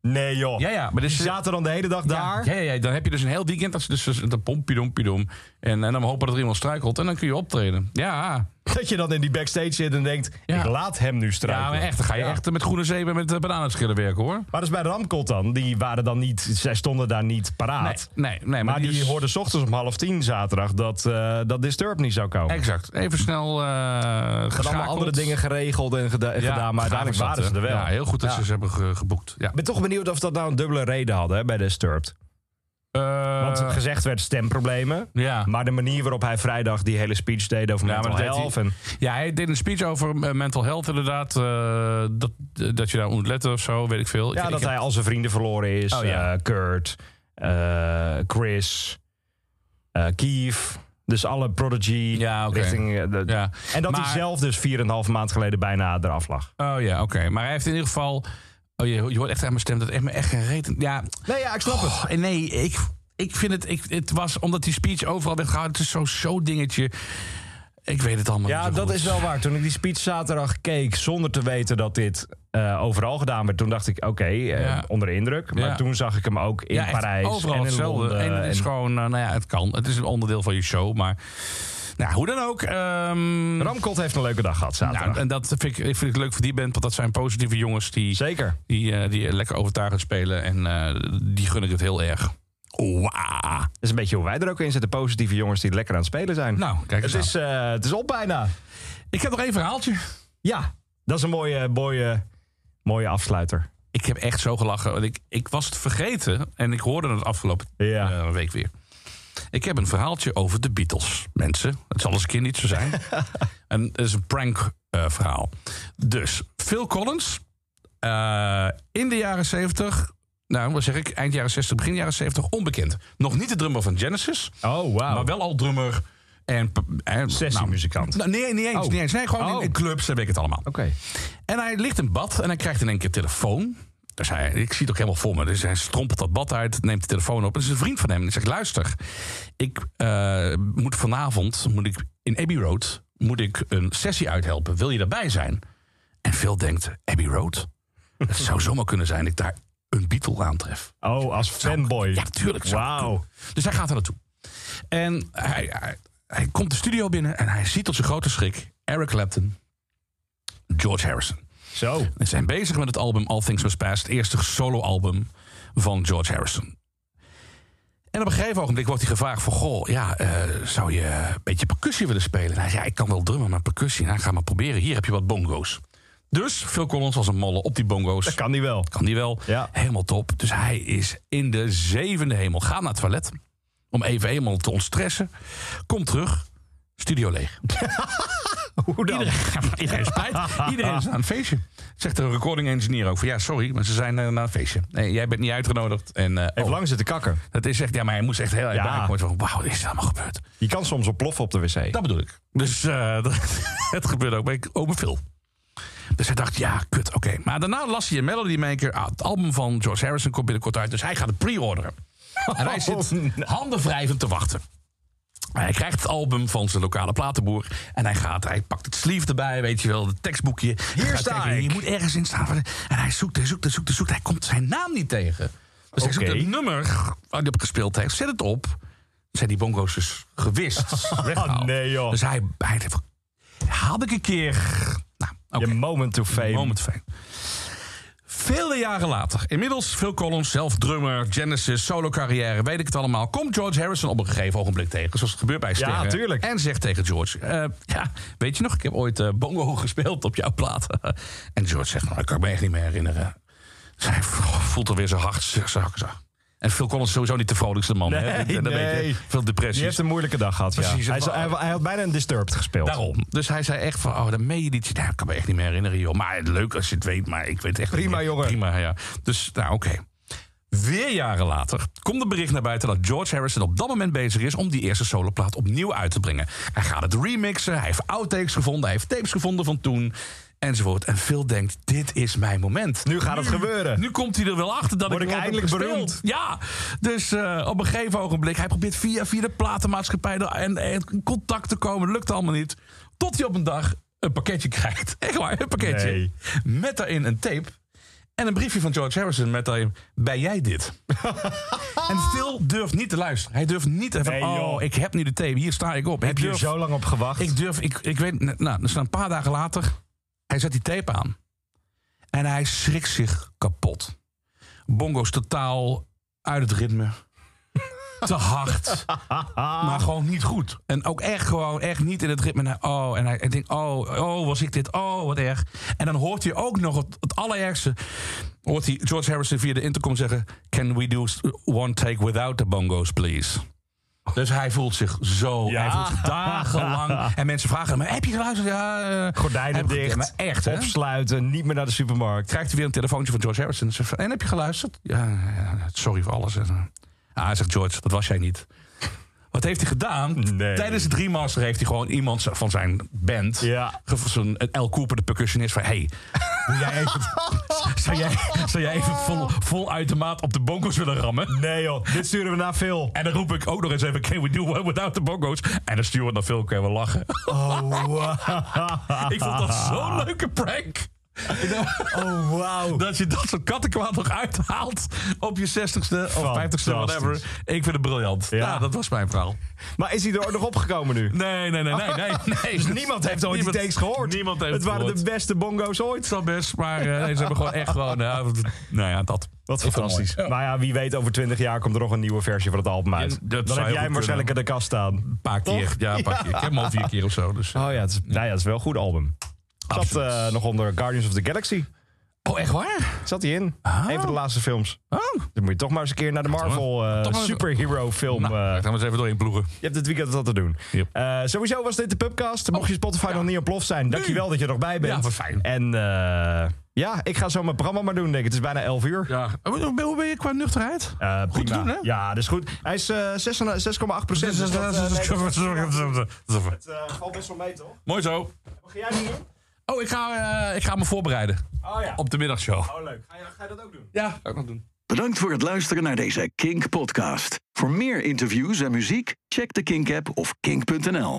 [SPEAKER 3] Nee joh.
[SPEAKER 2] Ja, ja. Maar dus,
[SPEAKER 3] Die zaten dan de hele dag daar.
[SPEAKER 2] Ja, ja, ja, dan heb je dus een heel weekend. Dat is dus dus een pompidom, pidom. En, en dan hopen dat er iemand struikelt. En dan kun je optreden. Ja,
[SPEAKER 3] Dat je dan in die backstage zit en denkt,
[SPEAKER 2] Ja.
[SPEAKER 3] ik laat hem nu strijken.
[SPEAKER 2] ja maar echt. Dan ga je
[SPEAKER 3] Ja.
[SPEAKER 2] echt met groene zeep en met eh, bananenschillen werken, hoor.
[SPEAKER 3] Maar dat is bij Ramkot dan. Die waren dan niet, zij stonden daar niet
[SPEAKER 2] Nee,
[SPEAKER 3] paraat.
[SPEAKER 2] nee, nee. Maar,
[SPEAKER 3] Ah. Maar die
[SPEAKER 2] is-
[SPEAKER 3] hoorden 's ochtends om half tien zaterdag dat, eh dat Disturb niet zou komen.
[SPEAKER 2] Exact. Even snel eh
[SPEAKER 3] Er zijn allemaal andere dingen geregeld en geda- gedaan, maar uiteindelijk waren ze er wel.
[SPEAKER 2] Ja, heel goed dat
[SPEAKER 3] Ja.
[SPEAKER 2] ze ze hebben ge- geboekt. Ja.
[SPEAKER 3] Ik ben toch benieuwd of dat nou een dubbele reden hadden hè, bij Disturbed.
[SPEAKER 2] Eh,
[SPEAKER 3] Want gezegd werd stemproblemen.
[SPEAKER 2] ja.
[SPEAKER 3] Maar de manier waarop hij vrijdag die hele speech deed over
[SPEAKER 2] Ja, maar
[SPEAKER 3] mental
[SPEAKER 2] dat deed hij-
[SPEAKER 3] health en-
[SPEAKER 2] ja, hij deed een speech over eh, mental health inderdaad. eh, dat, dat je daar moet letten of zo, weet ik veel.
[SPEAKER 3] Ja,
[SPEAKER 2] ik,
[SPEAKER 3] dat
[SPEAKER 2] ik heb-
[SPEAKER 3] hij al zijn vrienden verloren is.
[SPEAKER 2] Oh, ja.
[SPEAKER 3] Eh, Kurt, eh, Chris, eh Keef. Dus alle Prodigy
[SPEAKER 2] Ja, oké.
[SPEAKER 3] richting... eh, de-
[SPEAKER 2] Ja.
[SPEAKER 3] En dat hij
[SPEAKER 2] Maar-
[SPEAKER 3] zelf dus 4,5 maand geleden bijna eraf lag.
[SPEAKER 2] Oh ja, oké. Maar hij heeft in ieder geval... Oh, je, je hoort echt aan mijn stem dat echt, me echt geen reet... Ja,
[SPEAKER 3] Nee, ja, ik snap het.
[SPEAKER 2] Oh, nee, ik, ik vind het... Ik, het was omdat die speech overal werd gehouden. Het is zo'n show-dingetje. Ik weet het allemaal
[SPEAKER 3] Ja,
[SPEAKER 2] niet zo
[SPEAKER 3] dat
[SPEAKER 2] goed.
[SPEAKER 3] is wel waar. Toen ik die speech zaterdag keek zonder te weten dat dit eh, overal gedaan werd... toen dacht ik, oké, eh,
[SPEAKER 2] Ja.
[SPEAKER 3] onder de indruk. Maar
[SPEAKER 2] Ja.
[SPEAKER 3] toen zag ik hem ook in
[SPEAKER 2] echt
[SPEAKER 3] Parijs
[SPEAKER 2] Overal
[SPEAKER 3] en in
[SPEAKER 2] hetzelfde.
[SPEAKER 3] Londen.
[SPEAKER 2] en het is
[SPEAKER 3] en-
[SPEAKER 2] gewoon, eh, nou ja, het kan. Het is een onderdeel van je show, maar Nou, hoe dan ook. ehm,
[SPEAKER 3] Ramkot heeft een leuke dag gehad zaterdag.
[SPEAKER 2] nou, en dat vind ik, ik vind het leuk voor die band, want dat zijn positieve jongens die,
[SPEAKER 3] Zeker.
[SPEAKER 2] die, eh, die lekker overtuigend spelen. En eh, die gun ik het heel erg. Wauw.
[SPEAKER 3] Dat is een beetje hoe wij er ook in zitten. Positieve jongens die lekker aan het spelen zijn.
[SPEAKER 2] Nou, kijk eens
[SPEAKER 3] het, is, eh, het is op bijna.
[SPEAKER 2] Ik heb nog één verhaaltje.
[SPEAKER 3] Ja, dat is een mooie, mooie, mooie afsluiter.
[SPEAKER 2] Ik heb echt zo gelachen. Want ik, ik was het vergeten en ik hoorde het afgelopen
[SPEAKER 3] Ja.
[SPEAKER 2] eh, week weer. Ik heb een verhaaltje over de Beatles, mensen. Het zal eens een keer niet
[SPEAKER 3] [LAUGHS]
[SPEAKER 2] zo zijn. en het is een prank eh, verhaal. Dus, Phil Collins, eh, in de jaren 70, nou wat zeg ik, eind jaren 60, begin jaren 70, onbekend. Nog niet de drummer van Genesis,
[SPEAKER 3] Oh, wauw.
[SPEAKER 2] maar wel al drummer en... en
[SPEAKER 3] Sessiemuzikant.
[SPEAKER 2] Nou, nee, niet eens.
[SPEAKER 3] Oh.
[SPEAKER 2] Niet eens. Nee, gewoon in,
[SPEAKER 3] Oh.
[SPEAKER 2] in clubs, en weet ik het allemaal.
[SPEAKER 3] Oké.
[SPEAKER 2] En hij ligt in bad en hij krijgt in één keer telefoon. Dus hij, ik zie het ook helemaal voor me. Dus hij strompelt dat bad uit, neemt de telefoon op. En het is een vriend van hem. En hij zegt, luister, ik eh, moet vanavond moet ik in Abbey Road moet ik een sessie uithelpen. Wil je daarbij zijn? En Phil denkt, Abbey Road? Het zou [LAUGHS] zomaar kunnen zijn dat ik daar een Beatle aantref.
[SPEAKER 3] Oh, als fanboy.
[SPEAKER 2] Ja, tuurlijk. zou het
[SPEAKER 3] Wauw.
[SPEAKER 2] kunnen. Dus hij gaat daar naartoe. En hij, hij, hij komt de studio binnen en hij ziet tot zijn grote schrik... Eric Clapton, George Harrison.
[SPEAKER 3] Zo.
[SPEAKER 2] We zijn bezig met het album All Things Must Pass, het eerste soloalbum van George Harrison. En op een gegeven ogenblik wordt hij gevraagd van... Goh, ja, eh, zou je een beetje percussie willen spelen? En hij zei, ja, ik kan wel drummen, maar percussie. Nou, ga maar proberen. Hier heb je wat bongo's. Dus Phil Collins was een molle op die bongo's.
[SPEAKER 3] Dat kan die wel.
[SPEAKER 2] Kan die wel.
[SPEAKER 3] Ja.
[SPEAKER 2] Helemaal top. Dus hij is in de zevende hemel. Ga naar het toilet. Om even helemaal te ontstressen. Kom terug. Studio leeg.
[SPEAKER 3] Hoe dan?
[SPEAKER 2] Iedereen, [LAUGHS] iedereen
[SPEAKER 3] [LAUGHS]
[SPEAKER 2] spijt. Iedereen is aan een feestje. Zegt de recording engineer ook. Van, ja, sorry, maar ze zijn eh, naar een feestje. Nee, jij bent niet uitgenodigd. En, eh,
[SPEAKER 3] Heeft
[SPEAKER 2] oh,
[SPEAKER 3] lang zitten kakken.
[SPEAKER 2] dat is echt, ja, maar hij moest echt heel erg
[SPEAKER 3] Ja.
[SPEAKER 2] ja. worden. Van, wauw, dit is allemaal gebeurd.
[SPEAKER 3] Je kan soms ontploffen op de wc.
[SPEAKER 2] Dat bedoel ik. Dus eh, [LAUGHS] dat- het gebeurde ook bij Ome Phil. Dus hij dacht, ja, kut, oké. Maar daarna las hij in Melody Maker... ah, het album van George Harrison komt binnenkort uit... dus hij gaat het pre-orderen. En
[SPEAKER 3] [LAUGHS]
[SPEAKER 2] hij
[SPEAKER 3] Oh,
[SPEAKER 2] zit
[SPEAKER 3] nou.
[SPEAKER 2] handen wrijvend te wachten. Hij krijgt het album van zijn lokale platenboer. En hij gaat, hij pakt het sleeve erbij, weet je wel, het tekstboekje. Hij gaat
[SPEAKER 3] sta
[SPEAKER 2] kijken,
[SPEAKER 3] ik.
[SPEAKER 2] Je moet ergens in staan. En hij zoekt, hij zoekt, hij zoekt, hij zoekt. Hij komt zijn naam niet tegen. Dus hij
[SPEAKER 3] Oké.
[SPEAKER 2] zoekt het nummer oh, waar hij op gespeeld heeft. Zet het op. Zijn die bongo's dus
[SPEAKER 3] [LAUGHS]
[SPEAKER 2] gewist. weggehaald.
[SPEAKER 3] Oh, nee, joh.
[SPEAKER 2] Dus hij, hij dacht van, had ik een keer... Nou, oké.
[SPEAKER 3] Je moment to fame.
[SPEAKER 2] Moment fame. Vele jaren later, inmiddels Phil Collins, zelf drummer, Genesis, solo carrière, weet ik het allemaal. Komt George Harrison op een gegeven ogenblik tegen, zoals het gebeurt bij sterren.
[SPEAKER 3] tuurlijk.
[SPEAKER 2] En zegt tegen George, eh, ja, weet je nog, ik heb ooit eh, bongo [LAUGHS] gespeeld op jouw plaat. [LAUGHS] en George zegt, nou, ik kan me echt niet meer herinneren. [LAUGHS] Zij voelt alweer zijn hart z- zakken. zakken. En Phil Collins is sowieso niet de vrolijkste man. hè?
[SPEAKER 3] Nee,
[SPEAKER 2] Dat weet
[SPEAKER 3] nee.
[SPEAKER 2] je. Veel
[SPEAKER 3] Je
[SPEAKER 2] depressies.
[SPEAKER 3] hebt een moeilijke dag gehad, ja.
[SPEAKER 2] Precies, het
[SPEAKER 3] Hij,
[SPEAKER 2] wa-
[SPEAKER 3] hij, hij had bijna een Disturbed gespeeld.
[SPEAKER 2] Daarom. Dus hij zei echt van, oh, dat meen je niet. Nou, ik kan me echt niet meer herinneren, joh. Maar leuk als je het weet, maar ik weet echt
[SPEAKER 3] Prima,
[SPEAKER 2] niet meer.
[SPEAKER 3] jongen.
[SPEAKER 2] Prima, ja. Dus, nou, oké. Weer jaren later komt een bericht naar buiten dat George Harrison op dat moment bezig is om die eerste soloplaat opnieuw uit te brengen. Hij gaat het remixen, hij heeft outtakes gevonden, hij heeft tapes gevonden van toen, enzovoort. En Phil denkt, dit is mijn moment.
[SPEAKER 3] Nu gaat het gebeuren.
[SPEAKER 2] Nu komt hij er wel achter dat
[SPEAKER 3] Word
[SPEAKER 2] ik,
[SPEAKER 3] ik
[SPEAKER 2] wel heb
[SPEAKER 3] eindelijk
[SPEAKER 2] gespeeld.
[SPEAKER 3] beroemd?
[SPEAKER 2] Ja, dus eh, op een gegeven ogenblik. Hij probeert via, via de platenmaatschappij er- en, en in contact te komen. Lukt allemaal niet. Tot hij op een dag een pakketje [LAUGHS] krijgt. Echt waar, een pakketje.
[SPEAKER 3] Nee.
[SPEAKER 2] Met daarin een tape. En een briefje van George Harrison met daarin... Ben jij
[SPEAKER 3] [LAUGHS]
[SPEAKER 2] dit? en Phil durft niet te luisteren. Hij durft niet even...
[SPEAKER 3] Nee,
[SPEAKER 2] oh,
[SPEAKER 3] joh.
[SPEAKER 2] ik heb nu de tape. Hier sta ik op.
[SPEAKER 3] Heb
[SPEAKER 2] ik
[SPEAKER 3] je er
[SPEAKER 2] durf,
[SPEAKER 3] zo lang op gewacht?
[SPEAKER 2] ik durf... Ik, ik weet... Nou, dus een paar dagen later... Hij zet die tape aan. En hij schrikt zich kapot. Bongo's totaal uit het ritme. Te hard. Maar gewoon niet goed. En ook echt gewoon echt niet in het ritme. En hij- oh, en hij, hij denkt, oh, oh, was ik dit? Oh, wat erg. En dan hoort hij ook nog het, het allerergste. Hoort hij George Harrison via de intercom zeggen... Can we do one take without the bongos, please? Dus hij voelt zich zo.
[SPEAKER 3] Ja.
[SPEAKER 2] Hij voelt zich dagenlang. En mensen vragen hem, heb je geluisterd? Ja, eh,
[SPEAKER 3] Gordijnen
[SPEAKER 2] heb ik-
[SPEAKER 3] dicht.
[SPEAKER 2] Maar echt, hè?
[SPEAKER 3] Opsluiten. Niet meer naar de supermarkt.
[SPEAKER 2] krijgt hij weer een telefoontje van George Harrison. Zegt van, en heb je geluisterd? Ja, ja, sorry voor alles. En, eh, Ah, hij zegt George, dat was jij niet. Wat heeft hij gedaan?
[SPEAKER 3] Nee.
[SPEAKER 2] Tijdens het remaster heeft hij gewoon iemand van zijn band...
[SPEAKER 3] Ja.
[SPEAKER 2] ge- Zo'n L. Cooper, de percussionist, van... Hey, wil jij
[SPEAKER 3] [LAUGHS]
[SPEAKER 2] even, zou, jij, zou jij even vol, vol uit de maat op de bongos willen rammen?
[SPEAKER 3] Nee joh, dit sturen we naar Phil.
[SPEAKER 2] En dan roep ik ook nog eens even... Can we do one without the bongos? En dan sturen we naar Phil, kunnen we lachen. [LAUGHS]
[SPEAKER 3] Oh, wow.
[SPEAKER 2] Ik vond dat zo'n leuke prank. Ik denk
[SPEAKER 3] Oh, wauw.
[SPEAKER 2] dat je dat soort kattenkwaad nog uithaalt op je 60ste of 50ste, whatever.
[SPEAKER 3] Fantastisch.
[SPEAKER 2] Ik vind het briljant. Ja,
[SPEAKER 3] Ja.
[SPEAKER 2] dat was mijn verhaal.
[SPEAKER 3] Maar is hij er ook nog opgekomen nu?
[SPEAKER 2] Nee, nee, nee, nee, nee. nee.
[SPEAKER 3] Dus niemand heeft ooit
[SPEAKER 2] Niemand-
[SPEAKER 3] die takes gehoord.
[SPEAKER 2] Niemand heeft
[SPEAKER 3] het waren
[SPEAKER 2] gehoord.
[SPEAKER 3] de beste bongo's ooit.
[SPEAKER 2] dat best, maar eh, nee, ze hebben gewoon echt gewoon... ja, wat- nou ja, dat.
[SPEAKER 3] Wat fantastisch.
[SPEAKER 2] mooi. Ja.
[SPEAKER 3] Maar Nou ja, wie weet, over 20 jaar komt er nog een nieuwe versie van het album uit.
[SPEAKER 2] Ja,
[SPEAKER 3] Dan
[SPEAKER 2] dat zou
[SPEAKER 3] heb
[SPEAKER 2] heel
[SPEAKER 3] jij
[SPEAKER 2] goed
[SPEAKER 3] hem waarschijnlijk in de kast staan.
[SPEAKER 2] Een paar keer. Ja, een paar keer. Ik heb hem al vier keer of zo. Dus, eh,
[SPEAKER 3] Oh ja, het is, nou ja, het is wel een goed album. Zat
[SPEAKER 2] absoluut.
[SPEAKER 3] eh, nog onder Guardians of the Galaxy.
[SPEAKER 2] oh, echt waar?
[SPEAKER 3] Zat hij in.
[SPEAKER 2] Ah.
[SPEAKER 3] Een van de laatste films.
[SPEAKER 2] Oh.
[SPEAKER 3] Dan moet je toch maar eens een keer naar de Marvel eh,
[SPEAKER 2] toch maar even-
[SPEAKER 3] superhero film.
[SPEAKER 2] Nou,
[SPEAKER 3] eh,
[SPEAKER 2] dan gaan we eens even doorheen ploegen.
[SPEAKER 3] je hebt het weekend wat te doen.
[SPEAKER 2] Yep.
[SPEAKER 3] Eh, sowieso was dit de Pubcast. Mocht je Spotify nog niet ontploft zijn, dankjewel dat je er nog bij bent.
[SPEAKER 2] Oh, Ja, wat fijn.
[SPEAKER 3] En eh, ja, ik ga zo mijn programma maar doen, denk ik. Het is bijna 11 uur.
[SPEAKER 2] Ja. Hoe hoe ben je qua nuchterheid?
[SPEAKER 3] Eh,
[SPEAKER 2] Goed te
[SPEAKER 3] prima.
[SPEAKER 2] doen, hè?
[SPEAKER 3] Ja, dat is goed. Hij is eh, 6 en- 6,8 procent. Dus dat, eh, nee, dat eh, valt best wel mee, toch?
[SPEAKER 2] Mooi zo.
[SPEAKER 3] Wat ga jij nu doen?
[SPEAKER 2] Oh, ik ga, eh, ik ga me voorbereiden
[SPEAKER 3] Oh ja.
[SPEAKER 2] op de middagshow.
[SPEAKER 3] Oh, leuk. Ga je, ga je dat ook doen?
[SPEAKER 2] Ja, ga ik nog doen.
[SPEAKER 1] Bedankt voor het luisteren naar deze Kink podcast. Voor meer interviews en muziek, check de Kink app of kink.nl.